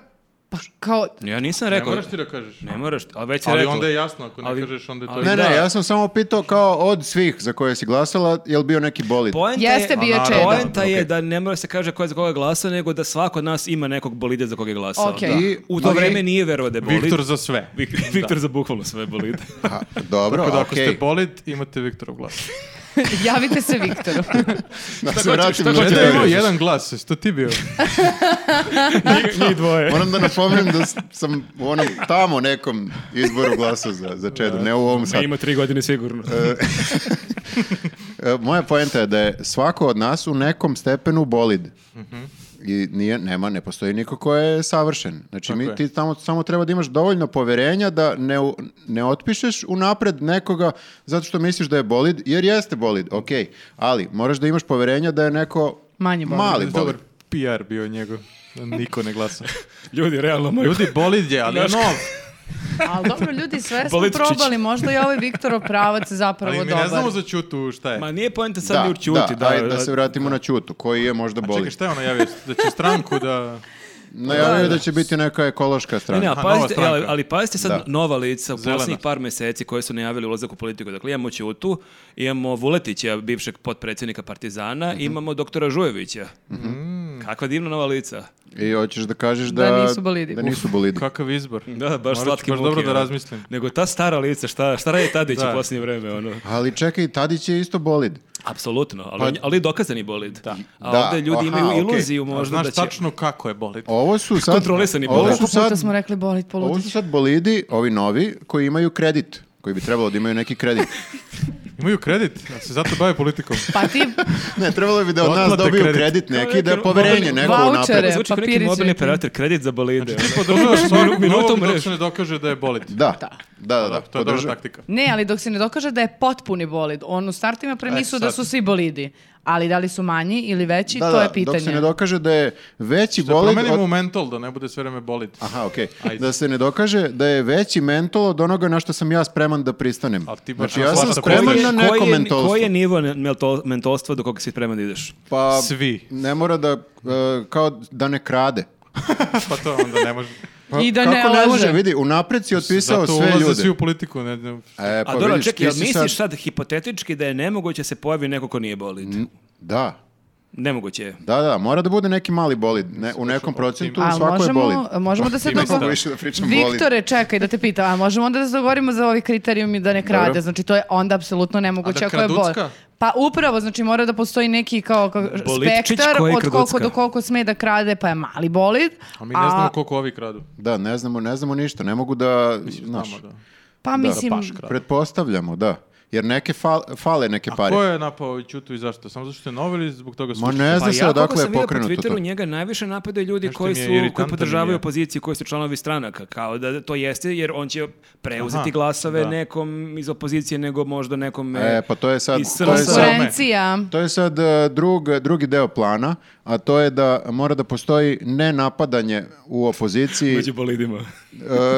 Pa kao, (laughs)
Ja nisam
Ne
rekao.
moraš ti da kažeš.
Ne moraš, ali već si
Ali
rekao.
onda je jasno, ako ne
Ali-
kažeš, onda je to...
ali-
Ne,
Da.
ne, ja sam samo pitao kao od svih za koje si glasala, jel bio neki bolid?
Poenta
Jeste bio
Pa naravno,
Čeda.
Poenta je
Okej.
da ne mora se kaže ko je za koga glasao, nego da svako od nas ima nekog bolide za koga je glasao.
Okej.
Da.
I-
U to
ali-
vreme nije verovao da je bolid.
Viktor za sve.
(laughs) Vik- Viktor za bukvalno sve bolide.
A, dobro,
Tako da ako
okej.
ste bolid, imate Viktorov
(laughs)
glas.
javite se Viktoru.
Da se
hoćeš,
vratim
šta
na
Ne da
hoćeš?
teoriju.
je imao jedan glas, jesi to ti
(laughs)
bio?
Njih dvoje.
Moram da napomenem da s- sam u onom tamo nekom izboru glasao za, za Čedu, ne u ovom sad.
Ima tri godine sigurno.
E, Moja poenta je da je svako od nas u nekom stepenu bolid. I nije, nema, ne postoji niko ko je savršen. Znači, mi,
je.
ti tamo, samo treba da imaš dovoljno poverenja da ne, u- ne otpišeš unapred nekoga zato što misliš da je bolid, jer jeste bolid, ok. Ali, moraš da imaš poverenja da je neko
Manje bolid.
mali bolid.
Dobar PR bio njegov. Niko ne glasa.
Ljudi, realno moj. pa-
Ljudi, bolid je, ali je
Znaš-
nov.
Ali dobro, ljudi, sve smo
Bolitčić.
probali, možda je ovaj Viktorov pravac zapravo
Ali mi
dobar.
ne znamo za Ćutu šta je.
Ma nije poenta sad ni u Ćuti,
da, ajde da se vratimo na Ćutu, koji je možda
A čekaj,
bolid.
šta je ono javio? Da će stranku da...
Najavio da će biti neka ekološka
Ne,
strana.
ne, a
Aha, nova
pazite,
stranka.
ali, ali pazite sad
Da.
nova lica u
Zelena.
posljednjih par meseci koje su najavili ulazak u politiku. Dakle, imamo Ćutu, imamo Vuletića, bivšeg potpredsjednika Partizana,
Mhm.
imamo doktora Žujevića. Mm. Kakva divna nova lica.
I hoćeš da kažeš da,
Da nisu bolidi.
Da nisu bolidi.
Kakav izbor.
Da, baš
Morat ću
slatki
baš
muki,
dobro da
ono.
razmislim.
Nego ta stara lica, šta, šta radi Tadić
Da. Pa-
u posljednje vreme? Ono?
Ali čekaj, Tadić je isto bolid.
Apsolutno, ali, on je- ali je dokazani bolid. A
Da,
ovdje
aha,
ljudi imaju
okej.
iluziju
A
možda
znaš
da će...
tačno kako je bolid.
Ovo su sad...
Kontrolisani
ovo
bolid.
su
Koliko puta
sad,
smo rekli bolit
ovo
poludi.
su sad bolidi, ovi novi, koji imaju kredit. Koji bi trebalo da imaju neki kredit.
Imaju kredit, a se zato bave
(laughs)
politikom.
Pa ti
(laughs) ne, trebalo bi da od nas
Otplate
dobiju kredit,
kredit.
neki, da je poverenje neko
Vaučere.
unapred.
Zvuči kao neki
Papirić
mobilni
neki.
operator, kredit za bolide. ono. (laughs)
Podržavaš svakog
minutom
novog dok
mrež.
se ne dokaže da je bolid.
Da, da, da, da,
Da, to je dobra
podržavam.
taktika.
Ne, ali dok se ne dokaže da je potpuni bolid, on u startu ima premisu
E, sad.
da su svi bolidi, ali da li su manji ili veći,
Da,
to
da,
je pitanje.
dok se ne dokaže da je veći
Da
bolid
promenimo
od-
u mentol, da ne bude sve vreme bolid.
Aha, okej.
Ajde.
Da se ne dokaže da je veći mentol od onoga na što sam ja spreman da pristanem.
Ali ti baš
znači, ja sam
slatko
spreman
voliš.
na
Koji je-
neko
koji je-
mentolstvo.
Koji je nivo ne- mentol- mentolstva do koga si spreman da ideš?
Pa,
Svi.
Ne mora da, e, kao da ne krade.
Pa to onda ne
(laughs)
može.
Pa,
I da ne
kako ne
laže.
može, vidi, unapred si otpisao
Zato
sve
ulaze
ljude.
svi u politiku. Ne, ne.
E,
A dobro,
vidiš,
čekaj, jel
ti si
misliš sad hipotetički da je nemoguće da se pojavi neko ko nije bolid?
Da,
Nemoguće je.
da, da, mora da bude neki mali bolid. Ne, u nekom procentu
A
svako je bolid.
možemo,
(laughs)
možemo da se
Ima
Mogu
da.
dogovorimo.
više da pričam bolid.
Viktore, čekaj da te pitam, a možemo onda da se dogovorimo za ovi kriterijumi da ne krade,
Dobro.
znači to je onda apsolutno nemoguće
A da
ako je bolid.
kraducka?
Pa upravo, znači mora da postoji neki kao, kao
Bolidčić
spektar
koji
od koliko
kraducka.
do koliko sme da krade, pa je mali bolid,
A mi ne znamo koliko ovi kradu.
Da, ne znamo, ne znamo ništa, ne mogu da, znaš,
Znamo da.
pa mislim,
baš krade.
pretpostavljamo, da. Jer neke fal- fale neke pare.
Ko je napao i Ćutu i zašto? Samo zato što je nov ili zbog toga su...
Ma ne zna
Pa
se
ja, koliko
odakle
sam
je
vidio po
pokrenuto
Twitteru,
to.
njega najviše napadaju ljudi
Nešto
koji,
mi je
su, koji
iritantan mi
podržavaju
je.
opoziciju, koji su članovi stranaka. Kao da to jeste, jer on će preuzeti
Aha,
glasove
da.
nekom iz opozicije, nego možda nekom
E, pa to je sad-
iz
to je
SNS-a.
sad-
konkurencija.
To je sad e, drug, drugi deo plana, a to je da mora da postoji nenapadanje u opoziciji.
Među bolidima.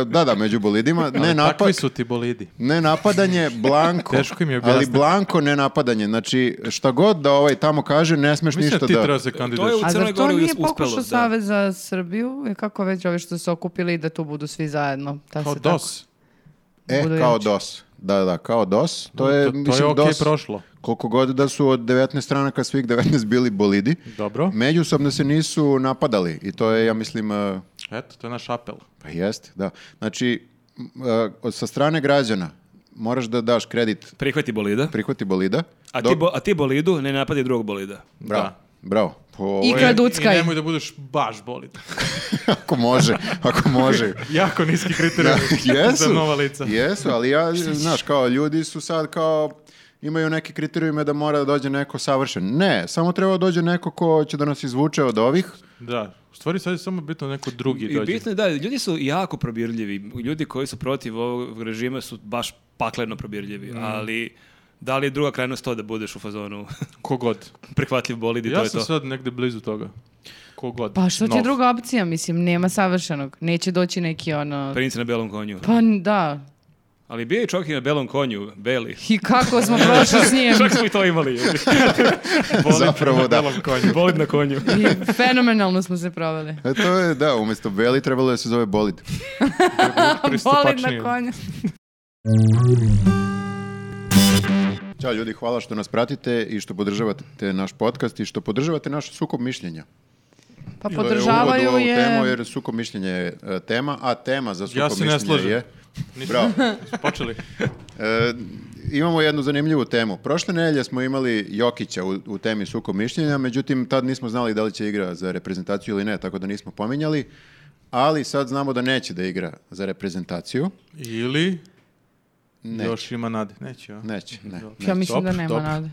E, da, da, među bolidima. Ne,
Ne,
napa-
su ti bolidi.
ne napadanje blanko
Teško im je
Ali
objasniti.
blanko ne napadanje. Znači, šta god da ovaj tamo kaže, ne smeš
Mislim
ništa
da ti
da...
treba se kandiduješ.
u
A
Crnoj
zar to
Gori
nije
uspelo, da.
pokušao Savez za Srbiju? I Kako već ovi što su se okupili da tu budu svi zajedno? Da
Kao
se tako-
DOS.
E,
Budu
kao
jači.
DOS. Da, da, kao DOS. To je,
To- to je
mislim,
okej
DOS.
prošlo.
Koliko god da su od 19 stranaka svih 19 bili bolidi,
Dobro.
međusobno se nisu napadali i to je, ja mislim, e,
Eto, to je naš apel.
pa jeste, da. Znači, m, e, od- sa strane građana moraš da daš kredit
Prihvati bolida.
prihvati bolida.
A ti,
Dok-
bo- a ti bolidu ne napadi drugog bolida.
Bravo,
Da.
bravo. Po, ovo
I
je-
kad- Duckaj.
I nemoj da budeš baš bolit.
(laughs) ako može, ako može.
jako niski
(laughs)
kriterij za
Jesu,
nova lica.
jesu, ali ja, znaš, kao ljudi su sad kao, imaju neke kriterijume da mora da dođe neko savršen. Ne, samo treba da dođe neko ko će da nas izvuče od ovih.
Da. U stvari sad je samo bitno da neko drugi
I
dođe.
bitno je da, ljudi su jako probirljivi. Ljudi koji su protiv ovog režima su baš pakleno probirljivi, ali da li je druga krajnost to da budeš u fazonu (laughs)
Kogod.
prihvatljiv bolid i to
Ja
je
sam
to?
sad negde blizu toga. Kogod.
Pa što ti je
Nov. (laughs)
druga opcija? Mislim, nema savršenog. Neće doći neki ono...
Prince na belom konju.
Pa n- da.
Ali bio je čovjek i na belom konju, beli. (laughs)
I kako (laughs) smo prošli s njim.
Čak smo i to imali.
(laughs) Zapravo da.
bolid na
(laughs)
konju.
I fenomenalno smo se proveli.
E, to je, da, umjesto Beli trebalo je da se zove Bolid.
Bolid
Pristupačnije.
na konju.
Ćao ljudi, hvala što nas pratite i što podržavate naš podcast i što podržavate naš sukob mišljenja. To
Pa
je uvod u
podržavaju
ovu Temu,
je...
jer sukob mišljenja je e, tema, a tema za sukob
Ja se ne
mišljenja
slažem.
je...
Nisam-
Bravo.
Počeli.
E, imamo jednu zanimljivu temu. Prošle nedelje smo imali Jokića u, u temi sukob mišljenja, međutim tad nismo znali da li će igra za reprezentaciju ili ne, tako da nismo pominjali, ali sad znamo da neće da igra za reprezentaciju.
Ili...
Neće.
Još ima nade. Neće, a?
Neće, ne.
Ja mislim da
Dobro,
nema
dobro.
nade.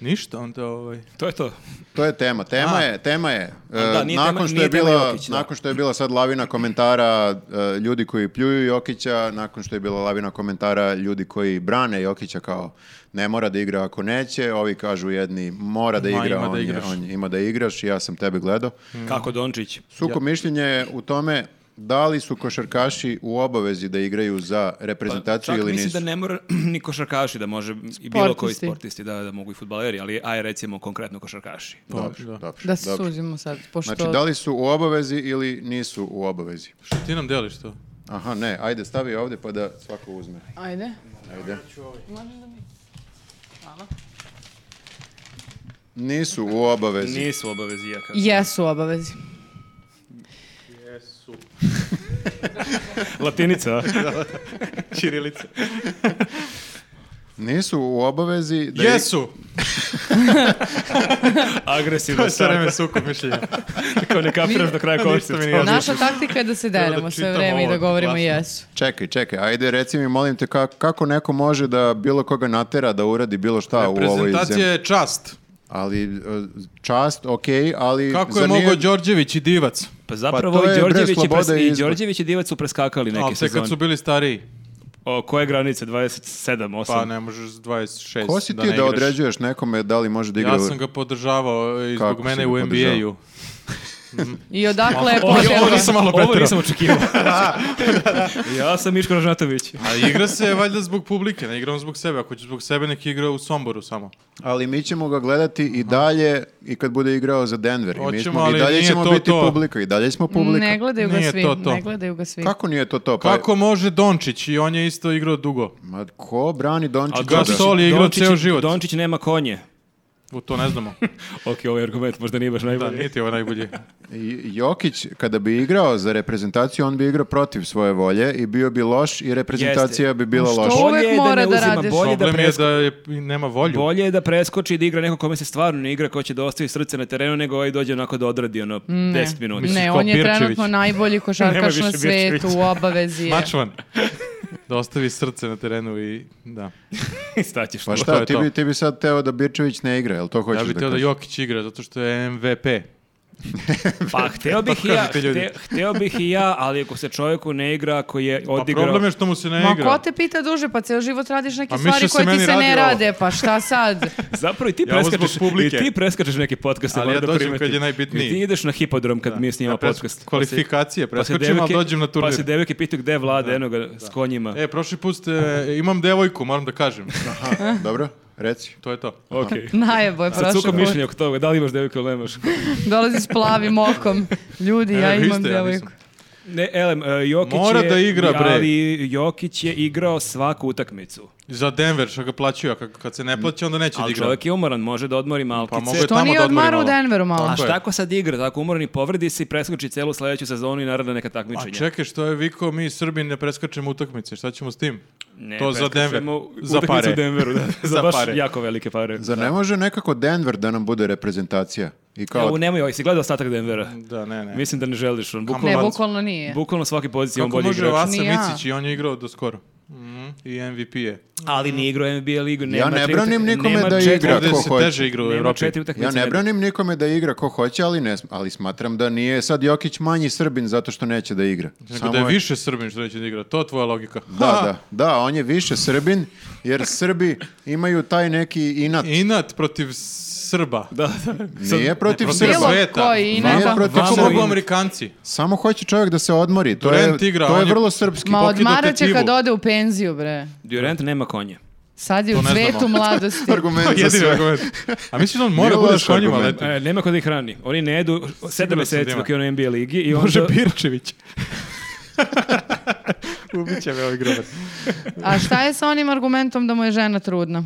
Ništa, onda ovaj...
To je to.
To je tema. Tema
A.
je, tema je. e,
A, da, nije
nakon
tema-
što
nije
je
tema
bila,
Jokić, da.
nakon što je bila sad lavina komentara e, ljudi koji pljuju Jokića, nakon što je bila lavina komentara ljudi koji brane Jokića kao ne mora da igra ako neće, ovi kažu jedni mora da
Ma,
igra,
ima
on,
da
je-
igraš.
on je- ima da igraš, ja sam tebe gledao.
Kako Dončić.
Suko mišljenje je u tome da li su košarkaši u obavezi da igraju za reprezentaciju
Pa, Čak
ili
mislim
nisu.
da ne mora (clears throat) ni košarkaši da može i bilo koji
Sportisti.
sportisti da, da mogu i futbaleri, ali aj recimo konkretno košarkaši.
Dobro,
Da.
dobro,
Da se
dobro.
suzimo sad, pošto...
Znači, da li su u obavezi ili nisu u obavezi?
Što ti nam deliš to?
Aha, ne, ajde, stavi ovdje pa da svako uzme.
Ajde.
Ajde. Nisu u obavezi.
Nisu obavezi ja kažem.
Jesu obavezi.
(laughs)
Latinica.
Čirilica.
Nisu u obavezi da... (laughs)
Jesu!
Agresivno
Sve
sam.
vreme sukob mišljenja.
Kao ne kapiraš do kraja
Ništa mi
koncepta.
nije jasno.
Naša taktika je da se
da
deremo sve
čitam
vreme i
ovo,
da govorimo
glasno.
jesu.
Čekaj, čekaj, ajde reci mi molim te ka- kako neko može da bilo koga natera da uradi bilo šta Pa u ovoj
Prezentacija
zemlji.
je čast.
Ali e, čast, ok, ali...
Kako
zar
je
nije-
mogao Đorđević i Divac?
Pa zapravo
Pa to
i
je, bre,
Đorđević i,
sloboda
pres-
je
i
izbor.
Đorđević i Divac su preskakali neke
A sve
sezone.
kad su bili stariji.
O, koje granice? 27, 8?
Pa ne možeš s 26
Ko si ti
ne
da,
igraš.
određuješ nekome da li može da igra...
Ja
u-
sam ga podržavao e, i
Kako
zbog
si
mene
ga
u
podržavao?
NBA-u.
I odakle je
Ovo, ovo
počelo.
nisam malo
Ovo
Ovo
nisam
nisam očekivao. (laughs) ja sam Miško Ražnatović.
A igra se valjda zbog publike, ne igram zbog sebe. Ako će zbog sebe, nek igra u Somboru samo.
Ali mi ćemo ga gledati i dalje i kad bude igrao za Denver. I, mi
Hoćemo,
smo, i
ali
dalje
nije
ćemo
to
biti
to.
publika. I dalje smo publika.
Ne gledaju ga
Nije
svi,
to to.
ne gledaju ga svi.
Kako nije to to? Pa,
Kako može Dončić? I on je isto igrao dugo.
Ma ko brani Dončića?
Gasol
da?
Gasol je igrao
Dončić-
ceo život.
Dončić nema konje.
U to ne
(laughs)
znamo.
Ok, ovaj argument možda nije baš
Da,
najbolji.
nije ti ovo najbolje.
I- Jokić, kada bi igrao za reprezentaciju, on bi igrao protiv svoje volje i bio bi loš i reprezentacija bi bila
Što?
loša.
Uvek
Bolje je
mora
ne
da
uzima,
radiš.
Bolje da,
Problem je
presko...
da je, i nema volju.
bolje je da preskoči i da igra neko kome se stvarno ne igra, ko će da ostavi srce na terenu, nego ovaj dođe onako da odradi ono 10 minuta. (laughs)
Mislim,
Ne,
kao
on je
Pirčević.
trenutno najbolji
Nemoj
košarkaš
više
na svetu,
Pirčević.
u obavezi je.
(laughs)
Mačvan. Da ostavi srce na terenu i da.
Staćeš.
Pa
To
šta,
je
ti
to.
bi, ti bi sad teo Pa da Birčević ne igra, jel to hoćeš
Ja bih
da
teo da
kažeš?
Jokić igra zato što je MVP.
Pa hteo bih i ja,
kažete ljudi.
hte- hteo bih i ja, ali ako se čovjeku ne igra, ako je
Pa
odigrao...
problem je što mu se ne
Ma
igra.
ko te pita duže, pa ceo život radiš neke
A miše
stvari
se
koje ti
meni
se ne
radi ovo.
rade, pa šta sad?
Zapravo i ti
Ja ovo zbog
preskačeš, i
publike.
ti preskačeš neki podcast,
Ali ja dođem kad je najbitniji.
I ti ideš na hipodrom kad mi snimamo
Ja pres-
podcast.
Kvalifikacije,
Pa se
preskočim, ali
devojke-
dođem na
Pa se
turnir.
devojke pitaju gde je vlada, eno ga s konjima.
E, prošli put ste, imam devojku, moram da kažem.
Aha, Eh, dobro, reci.
To je to.
Okej.
Najebo je
Sad
prošao
suko
put.
mišljenje oko toga, da li imaš devojku ili nemaš.
Dolazi s plavim okom. Ljudi,
E,
ja
vi
imam
ste, ja
devojku.
nisam.
Ne, elem, e, Jokić
Mora
je,
da igra, bre.
ali Jokić je igrao svaku utakmicu.
Za Denver, što ga plaćaju, a kad, kad se ne plaća, onda neće da
Mm. Ali
igra.
čovjek je umoran, može da odmori malkice.
Pa mogu je
Što
tamo
nije
da odmori
odmara u
malo.
Denveru malo?
A
Tako je.
šta ako sad igra, tako umoran i povredi se i preskoči celu sledeću sezonu i naravno neka
A
takmičenja.
čekaj, što je Viko, mi Srbi ne preskačemo utakmice, šta ćemo s tim?
Ne,
to za Denver,
preskačemo
za
utakmicu
pare.
u Denveru, da. za,
Za
baš
pare.
jako velike pare.
Zar ne može nekako Denver da nam bude reprezentacija? I kao,
Evo, nemoj, ovaj, si gledao ostatak Denvera?
(laughs) Da, ne, ne.
Mislim da ne želiš, on bukvalno,
Ne,
Kovac.
bukvalno nije.
bukvalno svaki pozicija on
Kako
bolji
može
igrač.
Vasa
Ni ja.
Micić i on je igrao do skoro. Mhm, I MVP je.
Ali ni igrao NBA ligu, nema
ne
tri
branim
utak-
nikome
nema
da
četiri-
igra.
Ovdje
ko
se
hoće.
teže igra u
Nema
Evropi.
četiri utakmice.
ja ne
nedelje.
branim nikome da igra ko hoće, ali, ne, ali smatram da nije sad Jokić manji Srbin zato što neće da igra.
Nego da je više Srbin što neće da igra. To je tvoja logika.
Da, da, da, on je više Srbin, jer Srbi imaju taj neki inat.
Inat protiv Srba.
(laughs) Da, da.
Nije protiv
protiv
Srba.
Bilo
sveta.
koji, i
Nije
neka.
protiv-
Vamo
Samo
mogu
in-
(laughs)
Amerikanci.
Samo hoće čovjek da se odmori. To je,
Durant igra,
to je
on je-
vrlo srpski.
Ma
pokidate
odmarat će
pivu.
kad ode u penziju, bre.
Durant nema konje.
Sad je u
To ne
cvetu
znamo.
(laughs)
mladosti.
Argument za
Jedini
sve.
(laughs) argument. A mislim da on mora
Nije
bude
loš
s konjima
argument.
leti.
E, nema ko da ih hrani. Oni ne jedu sedam
sam
meseci
da ima.
dok je on u NBA ligi i onda...
Pirčević. Ubiće me ovaj grobar.
A šta je sa onim argumentom da mu je žena trudna?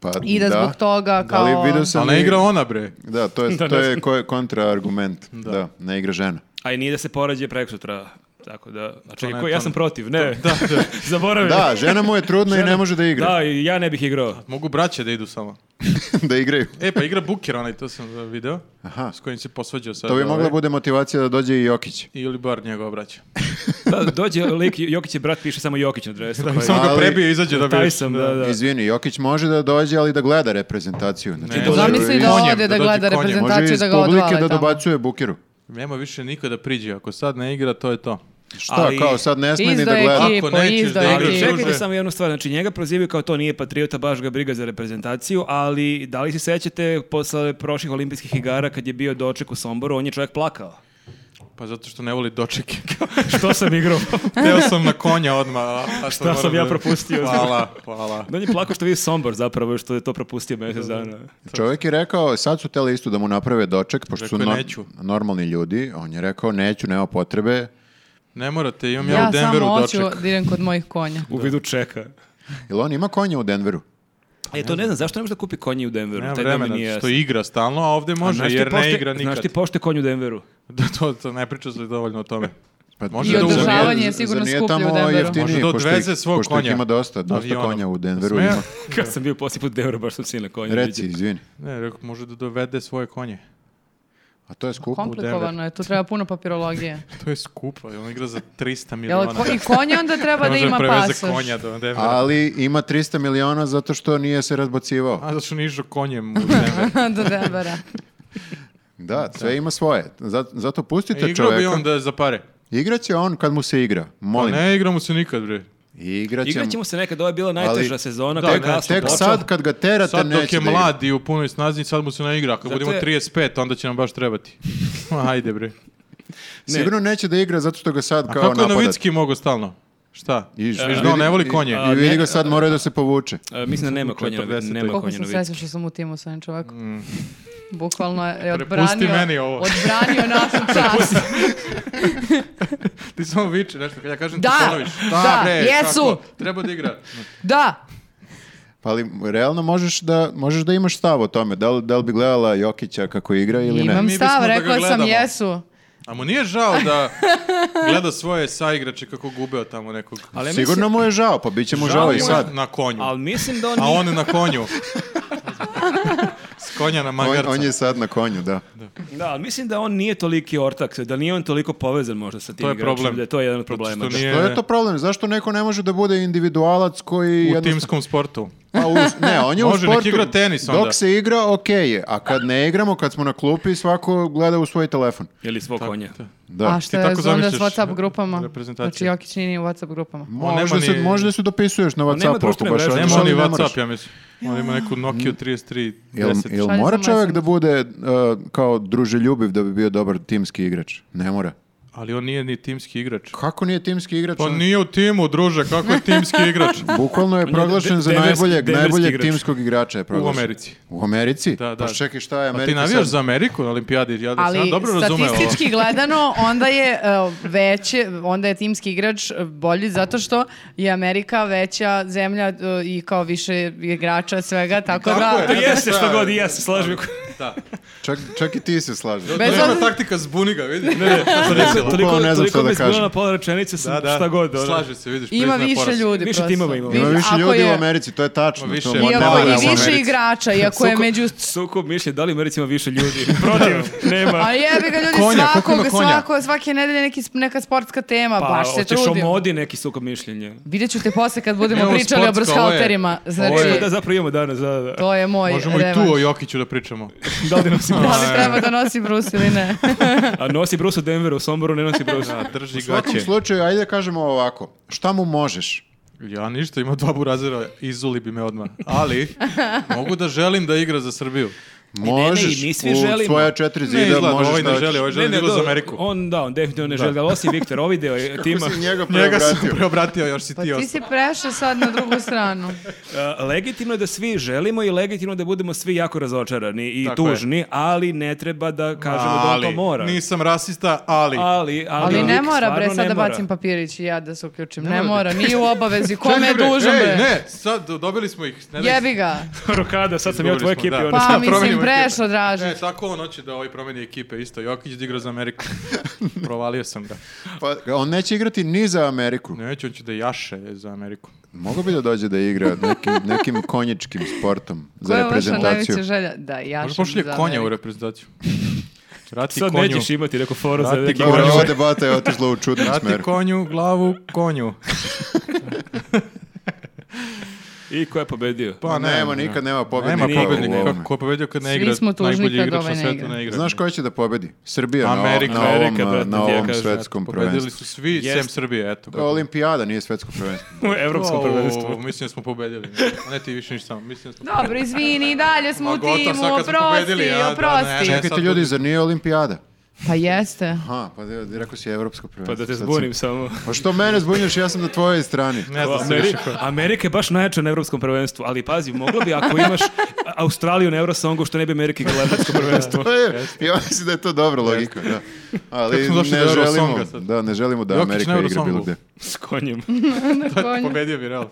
Pa,
I da, zbog toga
Da li
kao...
vidio sam
Ali ne
i-
igra ona, bre. (laughs)
Da, to je, to je ko- kontraargument. Da. ne igra žena.
A i nije da se porađe prek sutra. Tako da... A čekaj,
ne,
ko- ja
to
sam
ne.
protiv, ne. Da, (laughs) da. Zaboravim.
Da, žena mu je trudna i ne može da igra.
Da, i ja ne bih igrao.
Mogu braće da idu samo.
(laughs) Da, igraju.
E, pa igra Buker onaj, to sam uh, video.
Aha.
S kojim se posvađao sad.
To bi
ovaj,
mogla bude motivacija da dođe i Jokić.
Ili bar njegova braća.
Pa
Da, dođe lik, Jokić je brat, piše samo Jokić na
(laughs)
dresu.
I Pa samo ga
Ali-
prebije i izađe da bi...
Taj sam, da, da.
Izvini, Jokić može da dođe, ali da gleda reprezentaciju. Znači,
Ne,
to
da.
je-
e, Zamisli da
Konjem,
ode
da
da
dođe
gleda
konjem. Može
Može
reprezentaciju
iz
da ga
publike
odvale
da
tamo.
dobacuje Bukiru.
Nema više nikada priđe. Ako sad ne igra, to je to.
Šta,
Ali-
kao sad ne sme ni
Izdo
da gleda.
ekipu.
ekipu,
Ako nećeš
izdo
da igraš,
Ali
Druže.
ekipu.
čekaj.
čekajte samo jednu stvar, znači njega prozivaju kao to nije patriota, baš ga briga za reprezentaciju, ali da li se sećate posle prošlih olimpijskih igara kad je bio doček u Somboru, on je čovjek
(laughs)
plakao.
Pa zato što ne voli dočeke. (laughs)
Što sam igrao?
Teo sam na konja odmah. a-
(laughs)
a sad
Šta
moram
sam ja
da-
propustio?
(laughs) Hvala, hvala.
(laughs) on je plakao što vidi Sombor zapravo, što je to propustio mjesec dana.
Čovjek je rekao, sad su teli isto da mu naprave doček, pošto su
Rekao je,
nor-
"Neću."
normalni ljudi. On je rekao, neću, nema potrebe.
Ne morate, imam ja,
Ja
u Denveru
samo hoću
doček.
da idem kod mojih konja.
U vidu čeka.
Jel on ima konja u Denveru?
E, to ne znam, zašto ne može da kupi konji u Denveru?
Nema
Taj Denver
vremena,
nije
što
jasan.
igra stalno, a ovdje
A
može,
znaš ti
jer ne
pošte-
igra nikad.
Znaš ti pošte konj u Denveru?
(laughs) Da, to, to ne priča se dovoljno o tome.
Pa
Može
I
da uzme.
održavanje je sigurno
nije
skuplje u
tamo
Denveru.
jeftinije,
Može da
pošto
odveze
ih-
svog
pošto ih
konja. ono,
ima dosta, dosta
Avionom.
konja u Denveru.
Sme-
Ima.
Kad sam bio poslije put u Denveru, baš sam sine konja.
Reci,
vidio.
izvini.
Ne, rekao, može da dovede svoje konje.
A to je skupo.
Komplikovano je, tu treba puno papirologije.
To je skupo, on igra za 300
Jel,
(laughs) miliona.
ko- I konje onda
Ne
treba da
ono- može
ima
preveze
pasoš. (laughs)
konja do Denvera.
Ali ima 300 miliona zato što nije se razbacivao.
A zato što nižu konjem u
(laughs)
Denver.
Do Denvera.
Da, sve ima svoje. Zato, zato
E,
pustite
igrao bi
čoveka.
on da za pare.
Igraće on kad mu se igra.
Pa
Molim.
ne igra mu se nikad, bre.
Igraće
Igrat ćemo se nekad, ovo je bila najteža
Ali-
sezona.
Da,
koja je
ne,
kasno
Tek
počela.
sad kad ga terate
Sad dok
neće
je
da igra.
mlad i u punoj snazi, sad mu se ne igra. Kad
Zato
budemo
je-
35, onda će nam baš
(laughs)
trebati. Ajde, bre.
Sigurno neće da igra zato što ga sad
A
kao
kako je
napadate.
Novicki mogao stalno? Šta?
I
Viš
što-
da on ne voli konje.
I vidi ga sad moraju da se povuče.
E, mislim da nema konja,
40.
nema
Koliko
konja
sam
na
srećna što sam u timu sa ovim čovjekom. Bukvalno je
Prepusti
odbranio,
Mm. meni ovo. (laughs)
odbranio našu čast.
Ti samo viče nešto, kad ja kažem
Da,
ti ponoviš. Šta,
da,
bre,
jesu.
kako? Treba da igra.
Da,
Pa ali realno možeš da, možeš da imaš stav o tome. Da li, da li bi gledala Jokića kako igra ili ne?
imam
Mi bismo
stav,
da ga
rekla sam
gledamo.
jesu.
A mu nije žao
(laughs)
da gleda svoje saigrače kako gubeo tamo nekog.
Ali ja
Sigurno mu je žao, pa bit će mu žao,
Žao mu
i
je
sad.
Na konju.
mislim, ali mislim da on,
A
nije-
on na konju. S konja na
On,
magarca.
on je sad na konju, da.
da, ali mislim da on nije toliki ortak, da nije on toliko povezan možda sa tim
To je
igračima,
problem.
da je to jedan od
Zato što
problema.
nije-
To je to problem. Zašto neko ne može da bude individualac koji...
U
jednostavno-
timskom sportu.
Pa uz- ne, on je
(laughs)
u
Može, nek
sportu.
igra tenis onda.
Dok se igra, okej je. A kad ne igramo, kad smo na klupi, svako gleda u svoj telefon.
Ili svog konja.
Da.
A što
Ti
je
tako
onda s
zamišljaš
WhatsApp grupama?
reprezentaciju.
Znači Jokić nije ni u WhatsApp grupama.
On nema
Možda, se,
ni-
možda se dopisuješ na
On nema
Whatsappu ako
društvene
baš
mreže,
hoćeš,
Nema on
ali
ni
ne moraš.
Whatsapp, ja mislim. On ima neku Nokia 3310.
Jel, jel
Šalje
mora
samo
čovjek
SMS.
da bude uh, kao druželjubiv da bi bio dobar timski igrač? Ne mora.
Ali on nije ni timski igrač.
Kako nije timski igrač?
Pa
On-
nije u timu, druže, kako je timski igrač?
Bukvalno
Pa
je
je de-
proglašen za
deverski-
najboljeg,
deverski
najboljeg
igrač.
timskog igrača. Je proglašen.
Americi.
U Americi?
Da, da.
Pa čekaj, šta je
A ti
Amerika
navijaš
sad?
za Ameriku na olimpijadi? Ja da sam
Ali
ja dobro razumeo. ovo.
statistički gledano, onda je uh, veće, onda je timski igrač uh, bolji zato što je Amerika veća zemlja uh, i kao više igrača svega, tako da...
To jeste što god i ja se slažem.
Da.
Čak, čak i ti se slažeš.
Bez
Nema
obzira-
taktika zbuni ga, vidi. Ne, ne, to se desilo.
(laughs) Toliko,
ne znam
toliko
šta da
me izgledala
kažem.
na pola rečenice sam
Da, da.
šta god. ono.
Slaže se, vidiš,
Ima
priznaje
više
poraz.
ljudi
Više
prosto.
timova ima.
Ima
Vi-
više
ako
ljudi
je-
u Americi, Pa to je tačno.
Ima
to
više-
mo-
Ima
ne
Iako
Nema
valja
da
i
u
je
više
Americi.
igrača, iako je
Sukob-
među...
Sukob mišlje, da li America ima više
(laughs)
ljudi? Protiv, nema.
A jebi ga ljudi
Konja, koliko
svakog,
ima konja?
svako, svake nedelje neki, sp- neka sportska tema,
Pa,
baš se
Pa, hoćeš
trudim.
omodi neki sukob mišljenja.
Vidjet ću te posle kad budemo
Evo,
pričali o
sportska, ovo je-
brushauterima. Znači,
ovo je-
Evo da zapravo imamo danas, da, da.
to je moj
Možemo i
revanš.
tu o Jokiću da pričamo.
Da li
(laughs)
(laughs)
nosi
Da
Bruce?
li treba da nosi brus ili ne?
A nosi Bruce u Denveru, u Somboru ne
(laughs)
nosi Bruce.
Da, drži
U svakom
gaće.
slučaju, ajde kažemo ovako. Šta mu možeš?
Ja ništa, ima dva burazera, izuli bi me odmah.
(laughs)
Ali, mogu da želim da igra za Srbiju.
E,
Možeš
mi svi
u
želimo.
svoja četiri
Ne,
zida,
izgleda,
možeš
ovaj ne
šta
želi,
hoćeš.
ovaj želi da igra za
do-
Ameriku.
On, da, on definitivno ne želi, ali osim Viktor, ovaj
(laughs)
deo je tima.
Kako si njega
Njega sam
preobratio?
preobratio, još si
Pa
ti
ti
ostao.
si prešao sad na drugu stranu.
Uh, legitimno je da svi želimo i legitimno je da budemo svi jako razočarani i
Tako je.
tužni, ali ne treba da
pa
kažemo da on to
Ali,
mora.
nisam rasista, ali.
Ali, ali,
Ali ne
lik
mora bre,
stvarno
sad
ne
da
mora. (laughs)
bacim papirić i ja da se uključim. Ne mora, nije u
(laughs)
obavezi. Kome je
Čekaj, bre,
dužan
ej,
bre?
ne, sad do- dobili smo ih. Ne daj
Jebi
(laughs)
ga.
Rokada, sad sam ja u tvojoj
Izgubili
ekipi.
smo, da.
ono.
Sad
Pa mislim,
promenimo ekipe.
prešlo Dražić.
E, tako on hoće da ovaj promeni ekipe isto. Jokić da igra za
(laughs)
Ameriku. Provalio sam ga.
Pa, on neće igrati ni za Ameriku.
Neću, on će da jaše za Ameriku.
Mogu bi da dođe da igra nekim, nekim konjičkim sportom za
Koja je vaša
reprezentaciju.
najveća želja? Da, ja
Možda
ću
pošalje
za
konja u
Ameriku.
reprezentaciju. Vrati
Sad
konju.
nećeš imati neku foru za
Vrati
neki
Dobro,
Konju.
ova debata je otišla u čudnom
Vrati
smeru.
konju, glavu, konju.
(laughs) I ko je pobedio?
Pa ne,
nema,
ne.
nikad nema
Nema
pobjednika
Nikad.
pobednika.
u ovome.
Kako- Ko je pobedio kad ne
Svi
igra?
smo tužni
najbolji
kad
igrač na
ovaj ne
svetu
igra.
ne igra.
Znaš ko će da pobedi? Srbija
Amerika,
na ovom,
Amerika,
na ovom,
brate,
na
ti ja
ovom
kažem.
svetskom
Pobedili
prvenstvu.
su svi,
Jeste.
sem Srbije, eto.
Olimpijada nije svetsko prvenstvo.
U Evropskom
O,
prvenstvu.
Mislim da smo pobedili. A ne ti više ništa samo. Mislim da smo
Dobro, izvini, i dalje smo
Ma
u
gotovo,
timu,
sad kad smo pobedili,
oprosti,
ja, da, ne, ne.
oprosti.
Čekajte
sad-
ljudi, zar nije olimpijada?
Pa
(laughs)
jeste.
Aha, pa da- da rekao si evropsko prvenstvo.
Pa da te
Sad sam-
zbunim samo.
Pa što mene zbunješ, ja sam na tvojoj strani.
Ne znam se više
Ameri-
ko-
Amerika je baš najjača na evropskom prvenstvu, ali pazi, moglo bi ako imaš Australiju na Eurosongu, što ne bi Amerika igrala evropsko
(laughs)
prvenstvo.
To je, ja mislim da je to dobra logika, da. Ali
smo došli
ne
do
želimo,
Eurosonga sad?
da, ne želimo da
Jokić na
Amerika igra
Eurosongu.
bilo gde.
(laughs)
S konjem.
(laughs)
Konju.
Pobedio bi, realno.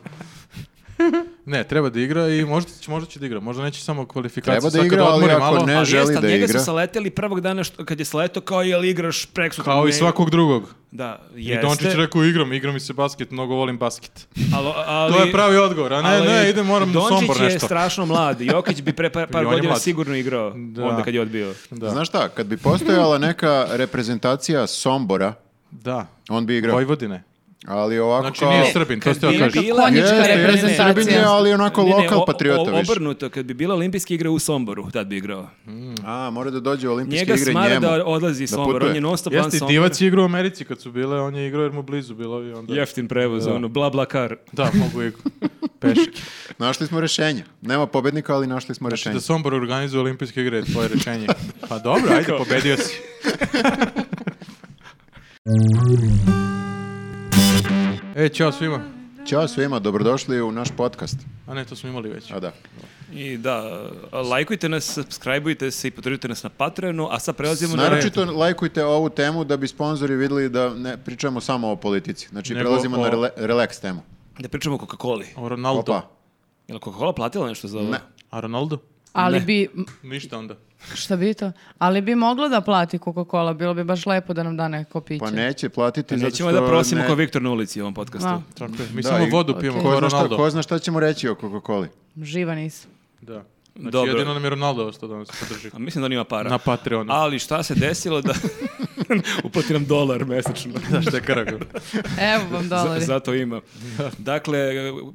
Ne, treba da igra i možda će, možda će da igra. Možda neće samo kvalifikacije.
Treba da
Sad kad
igra, ali
odmori
ako
malo,
ne-
a-
želi
jeste, ali
da
njega
igra.
su saleteli prvog dana što, kad je saleto kao jel igraš preksu.
Kao i svakog drugog.
Da,
I Dončić
jeste.
rekao igram, igra mi se basket, mnogo volim basket.
ali- ali-
To je pravi odgovor, a ne,
ali
ne, idem moram na Sombor
Dončić je
nešto.
strašno mlad. Jokić bi pre par,
(laughs)
par
I on je
godina
mlad.
sigurno igrao
Da.
onda kad je odbio.
Da.
Znaš šta, kad bi postojala neka reprezentacija Sombora,
Da.
on bi igrao.
Vojvodine.
Ali ovako
Znači
kao...
nije Srbin, to
Kad
ste joj
bi
kažem.
bila-
Konjička
Jeste, jeste,
reprezentacija.
Srbin je, ali onako
Ne, ne,
lokal
o-
patriota
o-
više.
Obrnuto, kad bi bila olimpijske igre u Somboru, tad bi igrao.
A, mora da dođe u olimpijske
Njega
igre
smara
njemu.
da odlazi iz
Da
Sombora, on
putuje.
je non stop van
Jeste, i
Sombora.
Divac je igrao u Americi kad su bile, on je igrao jer mu blizu bilo i onda...
Jeftin prevoz, ono, bla bla kar.
Da, mogu i peške.
Našli smo rešenje. Nema pobednika, ali našli smo
Znači
rešenje.
da Sombor organizuje olimpijske igre, je tvoje rečenje. Pa dobro, ajde, pobedio si. E, čao svima.
Ćao svima, dobrodošli u naš podcast.
A ne, to smo imali već.
A da.
I da, lajkujte nas, subscribeujte se i podržite nas na Patreonu, a sad prelazimo na...
Naročito lajkujte ovu temu da bi sponzori vidjeli da ne pričamo samo o politici. Znači,
Nego
prelazimo na
o-
rele, relax temu.
Da pričamo o Coca-Coli.
O Ronaldo.
Opa.
Je li Coca-Cola platila nešto za ovo? E,
Ne.
A Ronaldo?
Ali
Ne.
bi,
Ništa onda.
šta bi to? Ali bi moglo da plati Coca-Cola, bilo bi baš lepo da nam da neko piće.
Pa neće platiti. zato
Nećemo
što
da prosimo
ne-
kao Viktor na ulici u ovom podcastu.
A,
Tako je. Mi
Da,
samo
i-
vodu pijemo
okej.
kao
Ko zna, šta,
Ronaldo.
ko zna šta ćemo reći o Coca-Coli?
Živa nisam.
Da. Znači,
Dobro.
jedino nam je Ronaldo ostao da nas podrži.
pa-
(laughs) A mislim da on ima para.
Na Patreonu.
(laughs)
Ali šta se desilo da... Uplati nam dolar mesečno.
Znaš šta je karakor?
Evo
(laughs)
vam (laughs) dolari.
Za-
(laughs)
zato ima. Dakle,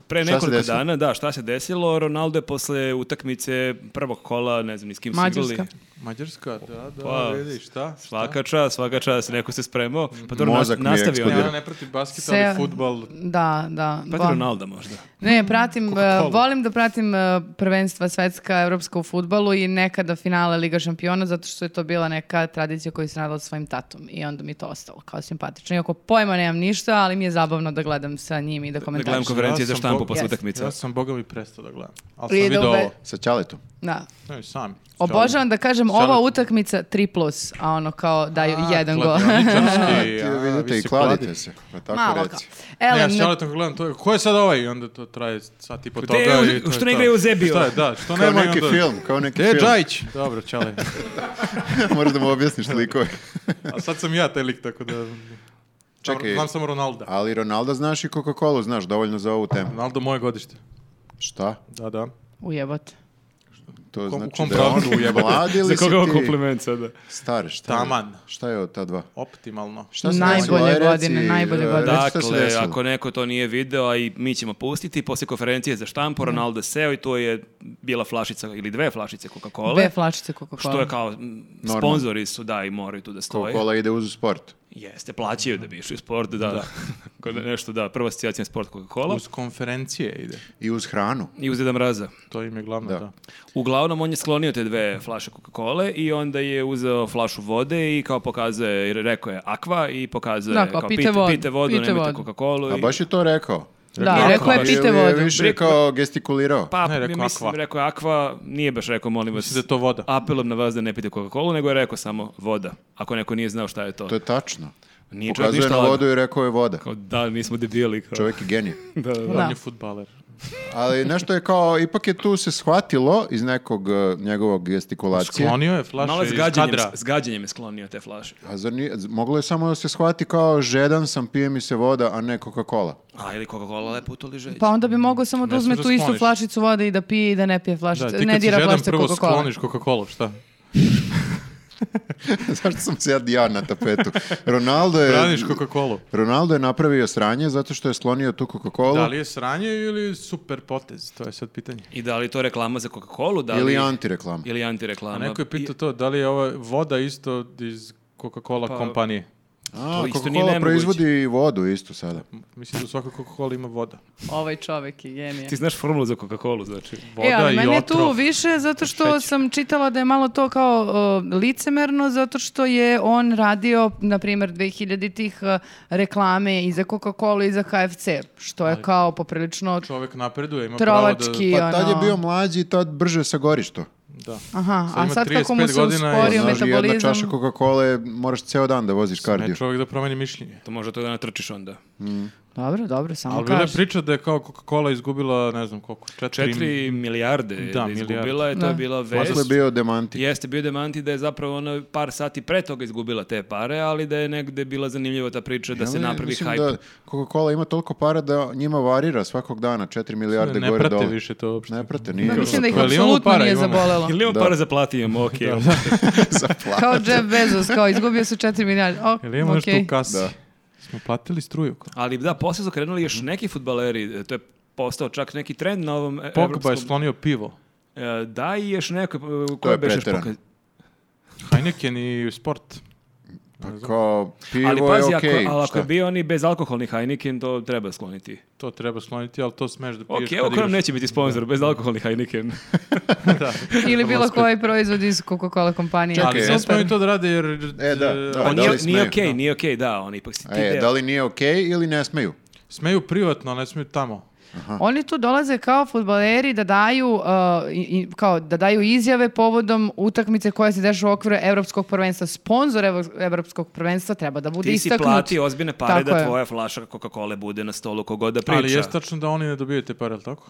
pre
se
nekoliko
desilo?
dana, da, šta se desilo, Ronaldo je posle utakmice prvog kola, ne znam ni s kim su
Mađarska.
igrali,
Mađarska, da, da,
Pa,
vidi, šta? šta?
svaka čas, svaka čas, neko se spremao, pa to
Mozak
nas,
mi je
nastavi
Ja,
on.
eksplodirao.
ja ne pratim basket,
Se-
ali futbal,
Da, da.
Pa ti
ba-
Ronalda možda.
Ne, pratim, e, volim da pratim e, prvenstva svetska, evropska u futbalu i nekada finale Liga šampiona, zato što je to bila neka tradicija koju sam radila sa svojim tatom i onda mi je to ostalo kao simpatično. Iako pojma nemam ništa, ali mi je zabavno da gledam sa njim i da
Da gledam
komentarišem.
konferencije
Ja
za
sam
štampu
Bog-
posle
Yes.
utakmice.
ja sam boga mi prestao da gledam. Ali
I
sam
da
vidio
ube-
ovo.
Sa Ćaletom.
Da.
Ne, sam.
Obožavam da kažem ova
Šalut.
utakmica 3+, plus, a ono kao daju
A,
jedan gol. (laughs)
kladioničarski,
Ti
a,
vidite
vi
i
se
kladite
kladite.
se. Pa tako
Malo kao.
reci.
Ne, ja
Ellen,
s Charlotteom kad gledam to je, ko je sad ovaj? I onda to traje sat i po
Gde
toga.
je
i
u-
to je
što ne
to.
igraju u Zebiju?
Šta je, da, što
Kao
nema i
neki ono- E,
onda-
film, kao neki
Gde je
film.
Džajić? Dobro, čale.
(laughs) Moraš da mu objasniš likove.
A sad sam ja taj lik, tako da...
Čekaj.
Znam samo Ronalda.
Ali Ronaldo znaš i Coca-Cola znaš dovoljno za ovu temu.
Ronaldo moje godište.
Šta?
Da, da.
Ujebote.
To
kom-
znači
kom
da je on
pravcu ujebate?
mlad ili
Za
si
koga ovo
ti
kompliment sada?
star? Šta je-
Taman.
Šta je od ta dva?
Optimalno.
Šta se
Najbolje
desilo? Aj, reci,
godine, najbolje
e,
godine.
reci šta se
Dakle,
desilo.
ako neko to nije video, a i mi ćemo pustiti, posle konferencije za
Mhm.
štampu, Ronaldo seo i to je bila flašica ili dve flašice Coca-Cola.
Dve flačice Coca-Cola.
Što je kao, m,
Normalno.
sponzori su, da, i moraju tu da stoje.
Coca-Cola ide uz sport.
Jeste, plaćaju da bi išli u sport, da, (laughs) da. Ako ne- Nešto, da, prva asocijacija je sport Coca-Cola.
Uz konferencije ide.
I uz hranu.
I uz Deda Mraza.
To im je glavno,
Da.
da.
Uglavnom, on je sklonio te dve flaše Coca-Cola i onda je uzeo flašu vode i kao pokazuje, rekao je akva i pokazuje,
Da, kao, pite vodu,
pite vodu,
pite
nemojte
vodu.
Coca-Cola.
A
i-
baš je to rekao.
Da, rekao je
Coca-Cola.
pite
Ili je
vodu.
više kao gestikulirao.
Pa,
Ne, rekao
ja mislim,
Aqua.
rekao je Aqua, nije baš rekao, molim vas,
Mislim da je to voda.
apelom na vas da ne pite Coca-Cola, nego je rekao samo voda, ako neko nije znao šta je to.
To je tačno.
Nije čovjek
Pokazuje
ništa
na
lagao.
vodu i rekao je voda.
Kao, da, nismo debili. Kao.
Čovjek je genij.
Da, da.
On
Da.
je futbaler.
Ali nešto je kao, ipak je tu se shvatilo iz nekog eh, njegovog gestikulacije.
Sklonio je flaše
Malo je
iz
s gađanjem,
kadra.
s gađanjem je sklonio te flaše.
A zar nije- z- moglo je samo da se shvati kao žedan sam, pije mi se voda, a ne Coca-Cola. (laughs)
A, ili Coca-Cola lepo utoli žeđe.
Pa onda bi mogao samo da
Ne
uzme
smeš da
tu istu
skloniš.
flašicu vode i da pije i da ne pije
Da,
flašicu,
ti
ne
kad si
dira
žedan
flašice
prvo
Coca-Cola.
skloniš Coca-Cola, šta?
Zašto sam se ja ja na tapetu? Ronaldo je,
Braniš Coca-Cola.
Ronaldo je napravio sranje zato što je slonio tu Coca-Cola
Da li je sranje ili super potez? To je sad pitanje.
I da li je to reklama za Coca-Colu? Da li...
ili antireklama.
Ili antireklama.
A neko je pitao
I-
to, da li je ova voda isto iz Coca-Cola
Pa-
kompanije?
A,
To isto
Coca-Cola
nije nemoguće.
proizvodi i vodu isto sada.
Mislim da u svakoj Coca-Cola ima voda.
Ovaj čovek je genije.
Ti znaš formulu za Coca-Colu, znači.
Voda
e, ali meni
i
je tu
otrov.
više zato što
Šećer.
sam čitala da je malo to kao o, licemerno zato što je on radio, na primjer, 2000-ih e, reklame i za Coca-Cola i za KFC, što je kao poprilično...
Čovek napreduje, ima
Trovački. I
Pa tad je
ono-
bio mlađi i tad brže sagoriš to.
pravo da... da.
Aha, a
ima
sad kako mu
35
se
godina i-
usporio
Bio
Znaš, i jedna
metabolizam...
čaša Coca-Cola moraš ceo dan da voziš kardio.
Ne, čovek da promeni mišljenje.
To može to da natrčiš onda.
Dobro, dobro, samo
Ali bila je
kaži.
priča da je kao Coca-Cola izgubila, ne znam koliko, četiri...
Četiri milijarde je
Da,
da, izgubila
milijarde.
je, to
Da.
je bila vest.
Posle je bio demanti.
Jeste bio demanti da je zapravo ono par sati pre toga izgubila te pare, ali da je negde bila zanimljiva ta priča da se
Ali
napravi
mislim
hype.
Da Coca-Cola ima toliko para da njima varira svakog dana 4 milijarde
Ne
gore
prate
dole.
više to uopšte.
Ne prate, nije.
Da, mislim da ih
Pa jel imamo
apsolutno
para,
nije
imamo?
zabolelo.
Ili imamo
Da.
para za
(laughs)
plati, imamo, ok.
Kao Jeff Bezos, kao izgubio su 4 milijarde. O,
Jel imamo nešto u
okej.
kasi?
Da.
Smo platili struju. kao?
Ali da, posle su krenuli još neki futbaleri, e, to je postao čak neki trend na ovom e,
Pogba je
evropskom-
sklonio pivo.
E, Da, i još neko... e, ko
To je
beše još
preterano.
poka-
Heineken i sport.
Pa kao, pivo
Ali pazi,
je
ako,
okej.
ali ako
šta?
je bio oni bezalkoholni Heineken, to treba skloniti.
To treba skloniti, ali to smeš da
Pa
piješ
Ok,
kad
evo ko nam
igraš.
neće biti sponsor, bezalkoholni Heineken.
Ili bilo koji proizvod iz Coca-Cola kompanije.
Čekaj,
Ali
Super.
sad smo i to da rade jer...
E, da, da.
Pa
li
nije,
smeju?
nije okej, nije okej, da, on ipak si ti
E,
deo.
da li nije okej ili ne smeju?
Smeju privatno, ali ne smeju tamo.
Oni tu dolaze kao futbaleri da daju uh, i- i- kao da daju izjave povodom utakmice koja se dešava u okviru evropskog prvenstva. Sponzor evo- evropskog prvenstva treba da bude
Ti si
istaknut.
platio ozbiljne pare
Tako
da
je.
tvoja flaša Coca-Cola bude na stolu kogoda priča.
Ali je tačno da oni ne dobijaju te pare, jel tako?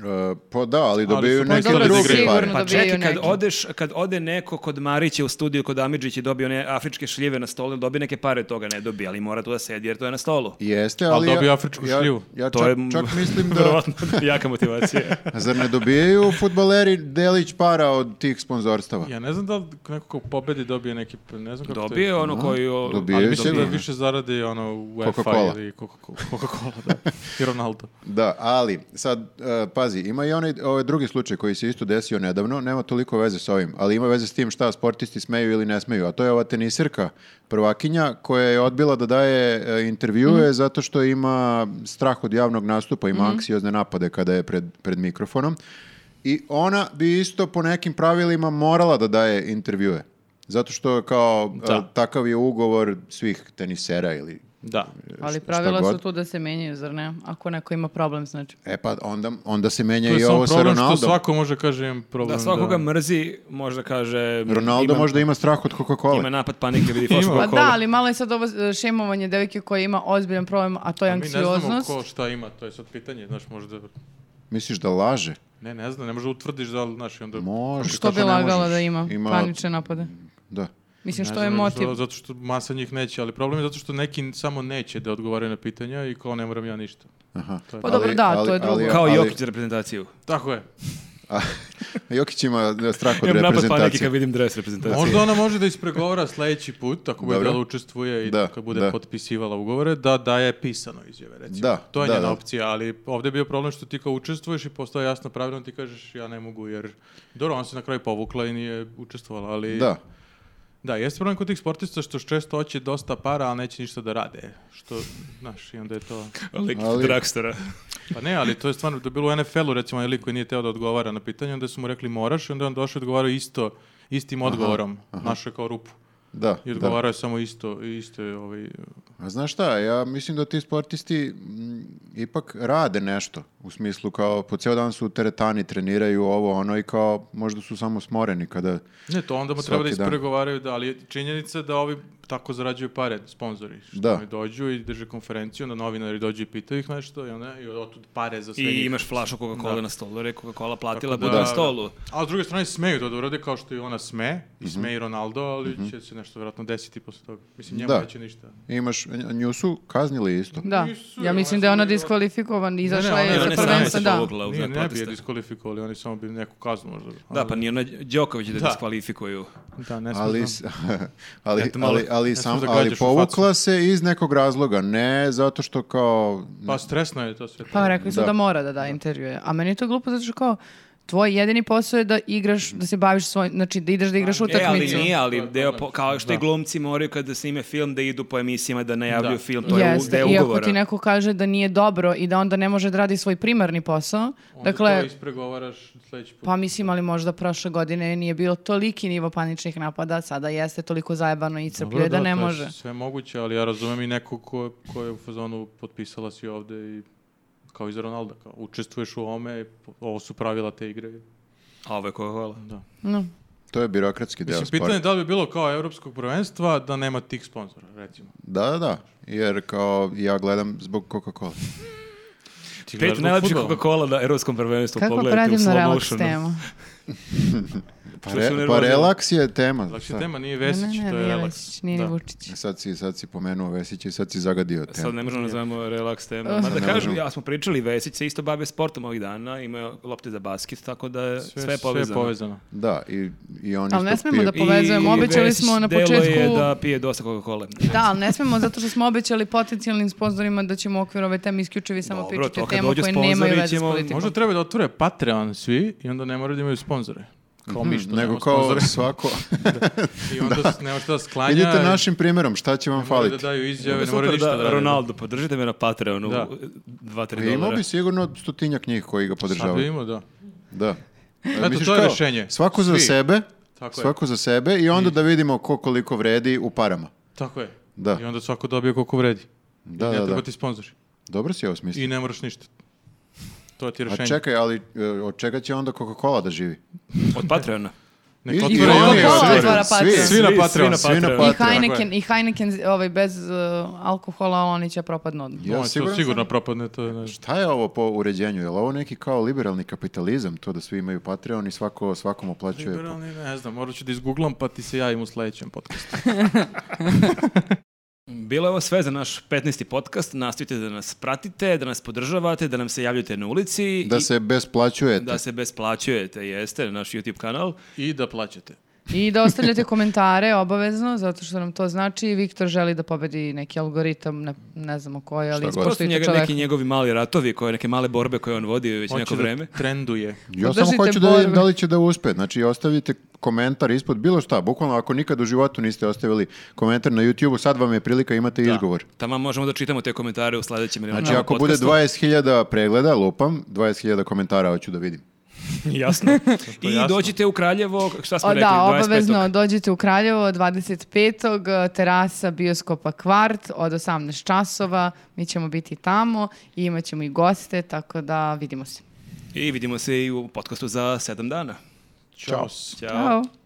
E, pa da, ali dobiju
su
neke
Pa dobro,
druge
sigurno
pare.
dobiju.
Pa čekaj, kad,
neki.
odeš, kad ode neko kod Marića u studiju, kod Amidžić i dobio one afričke šljive na stolu, ili dobije neke pare od toga, ne dobije, ali mora tu da sedi jer to je na stolu.
Jeste,
Ali
ali... ja-
dobiju afričku
ja,
šljivu.
Ja
to
čak,
je (laughs)
čak
(laughs)
mislim da...
verovatno jaka
(laughs)
motivacija.
Zar ne dobijaju futbaleri delić para od tih sponzorstava?
Ja ne znam da li neko ko pobedi dobije neki, ne znam kako
Dobije ono koji... o-
Ali
Dobije. Dobije
mislim da
sigurno.
više zaradi ono UEFA
Coca-Cola.
ili Coca-Cola, Coca-Cola da.
(laughs)
i Ronaldo.
Da, ali sad, e, pazi, ima i onaj ovaj drugi slučaj koji se isto desio nedavno, nema toliko veze s ovim, ali ima veze s tim šta sportisti smeju ili ne smeju, a to je ova tenisirka prvakinja koja je odbila da daje e, intervjue
Mhm.
zato što ima strah od javnog nastupa, ima anksiozne napade kada je pred, pred mikrofonom i ona bi isto po nekim pravilima morala da daje intervjue. Zato što kao e,
Da.
takav je ugovor svih tenisera ili
Da.
Ali
šta
pravila su
god.
tu da se menjaju, zar ne? Ako neko ima problem, znači.
E pa onda, onda se menja
To je
i
samo
ovo sa
problem što
Ronaldom.
svako može kaže imam problem.
Da svakoga mrzi, možda kaže...
Ronaldo
ima-
možda ima strah od
Ima
Coca-Cola.
napad panike, vidi
Ima.
Pa
fosfor
da, ali malo je sad ovo e, šemovanje devike koja ima ozbiljan problem, a to je
A Pa Mi ne znamo
anksioznost.
ko šta ima, to je sad pitanje, znaš, možda...
Misliš da laže?
Ne, ne znam, ne može utvrdiš da li, znaš, i onda...
Može.
Što
kako
bi
ne
lagala
možeš?
da ima, panične napade?
Da.
Mislim,
Ne
što je
znam,
motiv?
zato- Zato što masa njih neće, ali problem je zato što neki samo neće da odgovaraju na pitanja i kao ne moram ja ništa.
Aha.
Pa
dobro, da, to je drugo.
Kao
ali-
Jokić za reprezentaciju.
Tako je.
Jokić ima strah od
Imam napad panike
reprezentacije.
kad vidim dres reprezentacije.
Možda ona može da ispregovara sledeći put, ako bude
Dobro.
da učestvuje i
Da,
kad bude
da.
potpisivala ugovore, da daje pisano izjave, recimo.
Da,
to je
da,
njena
da.
opcija, ali ovdje je bio problem što ti kao učestvuješ i postoje jasno pravilno, ti kažeš ja ne mogu jer... Dobro, ona se na kraju povukla i nije učestvovala, ali...
Da.
Da, jeste problem kod tih sportista što često hoće dosta para, ali neće ništa da rade. Što, znaš, i onda je to...
Lik
Ali-
Dragstora.
Pa ne, ali to je stvarno da bilo u NFL-u, recimo, onaj lik koji nije teo da odgovara na pitanje, onda su mu rekli moraš, i onda je on došao i odgovarao isto, istim odgovorom, našao je kao rupu.
Da,
I
da.
odgovarao je samo isto, isto je ovaj...
A znaš šta, ja mislim da ti sportisti mm, ipak rade nešto. U smislu kao po ceo dan su u teretani, treniraju ovo, ono i kao možda su samo smoreni kada...
Ne, to onda mu
Svaki
treba da
dan.
ispregovaraju, da, ali je činjenica da ovi tako zarađuju pare, sponzori. Što
Da.
oni dođu i drže konferenciju, onda novinari dođu i pitaju ih nešto, i, onda, i otud pare za sve
I
njih.
imaš flašu Coca-Cola na stolu, rekao Coca-Cola platila,
Tako
bude
da-
na stolu.
A s druge strane smeju to da urade kao što i ona sme, i
Mhm.
sme i Ronaldo, ali će se nešto vjerojatno desiti posle toga. Mislim, njemu
Da.
neće ništa.
Imaš, nju su kaznili isto.
Da,
Nisu,
ja
ona
mislim
je
da je ona
samo bila-
diskvalifikovan,
Ne,
izašla
ne, ona
je
je
za
ona sama
prvenstvo,
se
da.
povukla. Uglavnom,
Nije, ne bi je
proteste.
diskvalifikovali, oni samo bi neku kaznu možda.
Da, pa ni ona Đoković da
Da.
diskvalifikuju.
Da, ne
ali,
smatram.
s- (laughs) ali,
Eto, malo-
ali, ali,
ne smeš
sam,
da
ali
gađaš u
povukla se iz nekog razloga, ne zato što kao...
Pa stresno je to sve.
Pa rekli su da,
Da.
mora da da intervjue. A meni je to glupo zato što kao tvoj jedini posao je da igraš, da se baviš svoj, znači da ideš da igraš
E, ali
utakmicu.
nije, ali
To je
deo,
problem.
po- kao što i glumci moraju kada snime film da idu po emisijama da najavljuju
Da.
film, to je u-
Jeste,
deo
i ako
ugovora.
ti neko kaže da nije dobro i da onda ne može da radi svoj primarni posao,
Onda
dakle,
to ispregovaraš sledeći put.
pa mislim, ali možda prošle godine nije bilo toliki nivo paničnih napada, sada jeste toliko zajebano i
Dobro,
crpljuje da,
da,
ne
to je
može.
Sve moguće, ali ja razumem i neko ko, ko je u fazonu potpisala si ovde i kao i za Ronalda, kao učestvuješ u ovome, ovo su pravila te igre.
A ovo je Coca-Cola.
Da.
No.
To je birokratski deo
Mislim,
sporta.
pitanje je da li bi bilo kao evropskog prvenstva da nema tih sponzora, recimo.
Da, da, da. Jer kao ja gledam zbog Coca-Cola.
Ti gledaš
Pet
zbog
najlepših
fudbala.
Coca-Cola na Europskom prvenstvu
Kako
pogledajte u
predivno
slow
relax
motionu.
tema.
Pa,
Što
re-
si nervozan?
pa relaks je tema.
Lakše
šta?
Znači, tema nije
Ne,
Vesić,
ne, ne,
to je
nije
relaks.
Vesić, nije ni
Da.
Vučić.
Sad si, sad si pomenuo Vesića i sad si zagadio temu.
Sad ne možemo nazvamo relax tema. Mada
ne
kažu,
možemo.
ja smo pričali, Vesić se isto bave sportom ovih dana, imaju lopte za basket, tako da je sve,
Sve
je povezano.
Sve je povezano.
Da, i, i on isto
Ali ne smemo da
pije-
I
Povezujemo, obećali smo na
Vesić delo je
početku-
da pije dosta Coca-Cola.
Da, ali ne smemo zato što smo obećali potencijalnim sponzorima da ćemo u okviru ove teme isključivi samo
Dobro,
pričati
to
o
kad
temama
dođu
koje
sponzori
nemaju veze s
ćemo-
politikom.
Možda treba da otvore Patreon svi i onda ne moraju da imaju sponzore. Kao mi što
Mhm, Nego
nemamo
kao (laughs)
sponzore.
svako.
(laughs) I onda s- nema šta da
(laughs)
sklanja.
Vidite
i
našim primjerom šta će vam
ne moraju
faliti.
da daju izjave, ne moraju
Super
ništa da,
da,
rade.
Ronaldo, podržite me na Patreonu,
Da.
2-3
Pa Imao
dolara.
bi sigurno stotinjak njih koji ga
Sad
podržavaju.
vidimo, da.
Da. E,
Eto,
misliš
to je
kao,
rešenje.
Svako za
Svi.
sebe,
Tako je.
svako za sebe i onda da vidimo ko koliko vredi u parama.
Tako je.
Da.
I onda svako dobije koliko vredi.
Da,
ne
da,
treba
da.
ti sponzori.
Dobro si ovo
I
smislio.
ne moraš ništa. To je ti
A
rešenje.
čekaj, ali e, od čega će onda Coca-Cola da živi?
Od Patreona.
Nek
I-
otvore
i
i
oni
oni
Coca-Cola
otvore.
otvara Patreon.
Svi,
Svi na Patreon.
Svi na
Patreon.
I
Patreon.
Heineken, i Heineken ovaj, bez uh, alkohola oni će propadno odmah.
Ja
Ono, to
siguran
sigurno
sam-
propadne, to je nešto.
Šta je ovo po uređenju? Je li ovo neki kao liberalni kapitalizam, to da svi imaju Patreon i svako, svakom oplaćuje? po-
Liberalni, ne znam, morat ću da izgooglam pa ti se javim u sledećem podcastu.
Bilo je ovo sve za naš 15. podcast. Nastavite da nas pratite, da nas podržavate, da nam se javljate na ulici.
Da
i-
se besplaćujete.
da se besplaćujete, jeste, na naš YouTube kanal.
I da plaćate.
I da ostavljate komentare obavezno, zato što nam to znači. I Viktor želi da pobedi neki algoritam, ne, ne znamo koji, ali
Šta god.
Prosto
ispoštujte
njega,
čoveka.
neki njegovi mali ratovi, koje, neke male borbe koje on vodi već neko
da
vreme.
trenduje.
Ja samo
Podržite
hoću da vidim
borbe.
da li će da uspe. Znači, ostavite komentar ispod bilo šta. Bukvalno, ako nikad u životu niste ostavili komentar na YouTube-u, sad vam je prilika, imate izgovor.
Tamo možemo da čitamo te komentare u sledećem ili
Znači,
onom
ako bude
podcastu.
20.000 pregleda, lupam, 20.000 komentara hoću da vidim.
(laughs) Jasno. I
jasno.
dođite u Kraljevo, šta smo
O,
rekli,
da,
25.
obavezno dođite u Kraljevo 25. terasa bioskopa Kvart od 18 časova. Mi ćemo biti tamo i imat ćemo i goste, tako da vidimo se.
I vidimo se i u podcastu za sedam dana.
Ćao.
Ćao.
Ćao.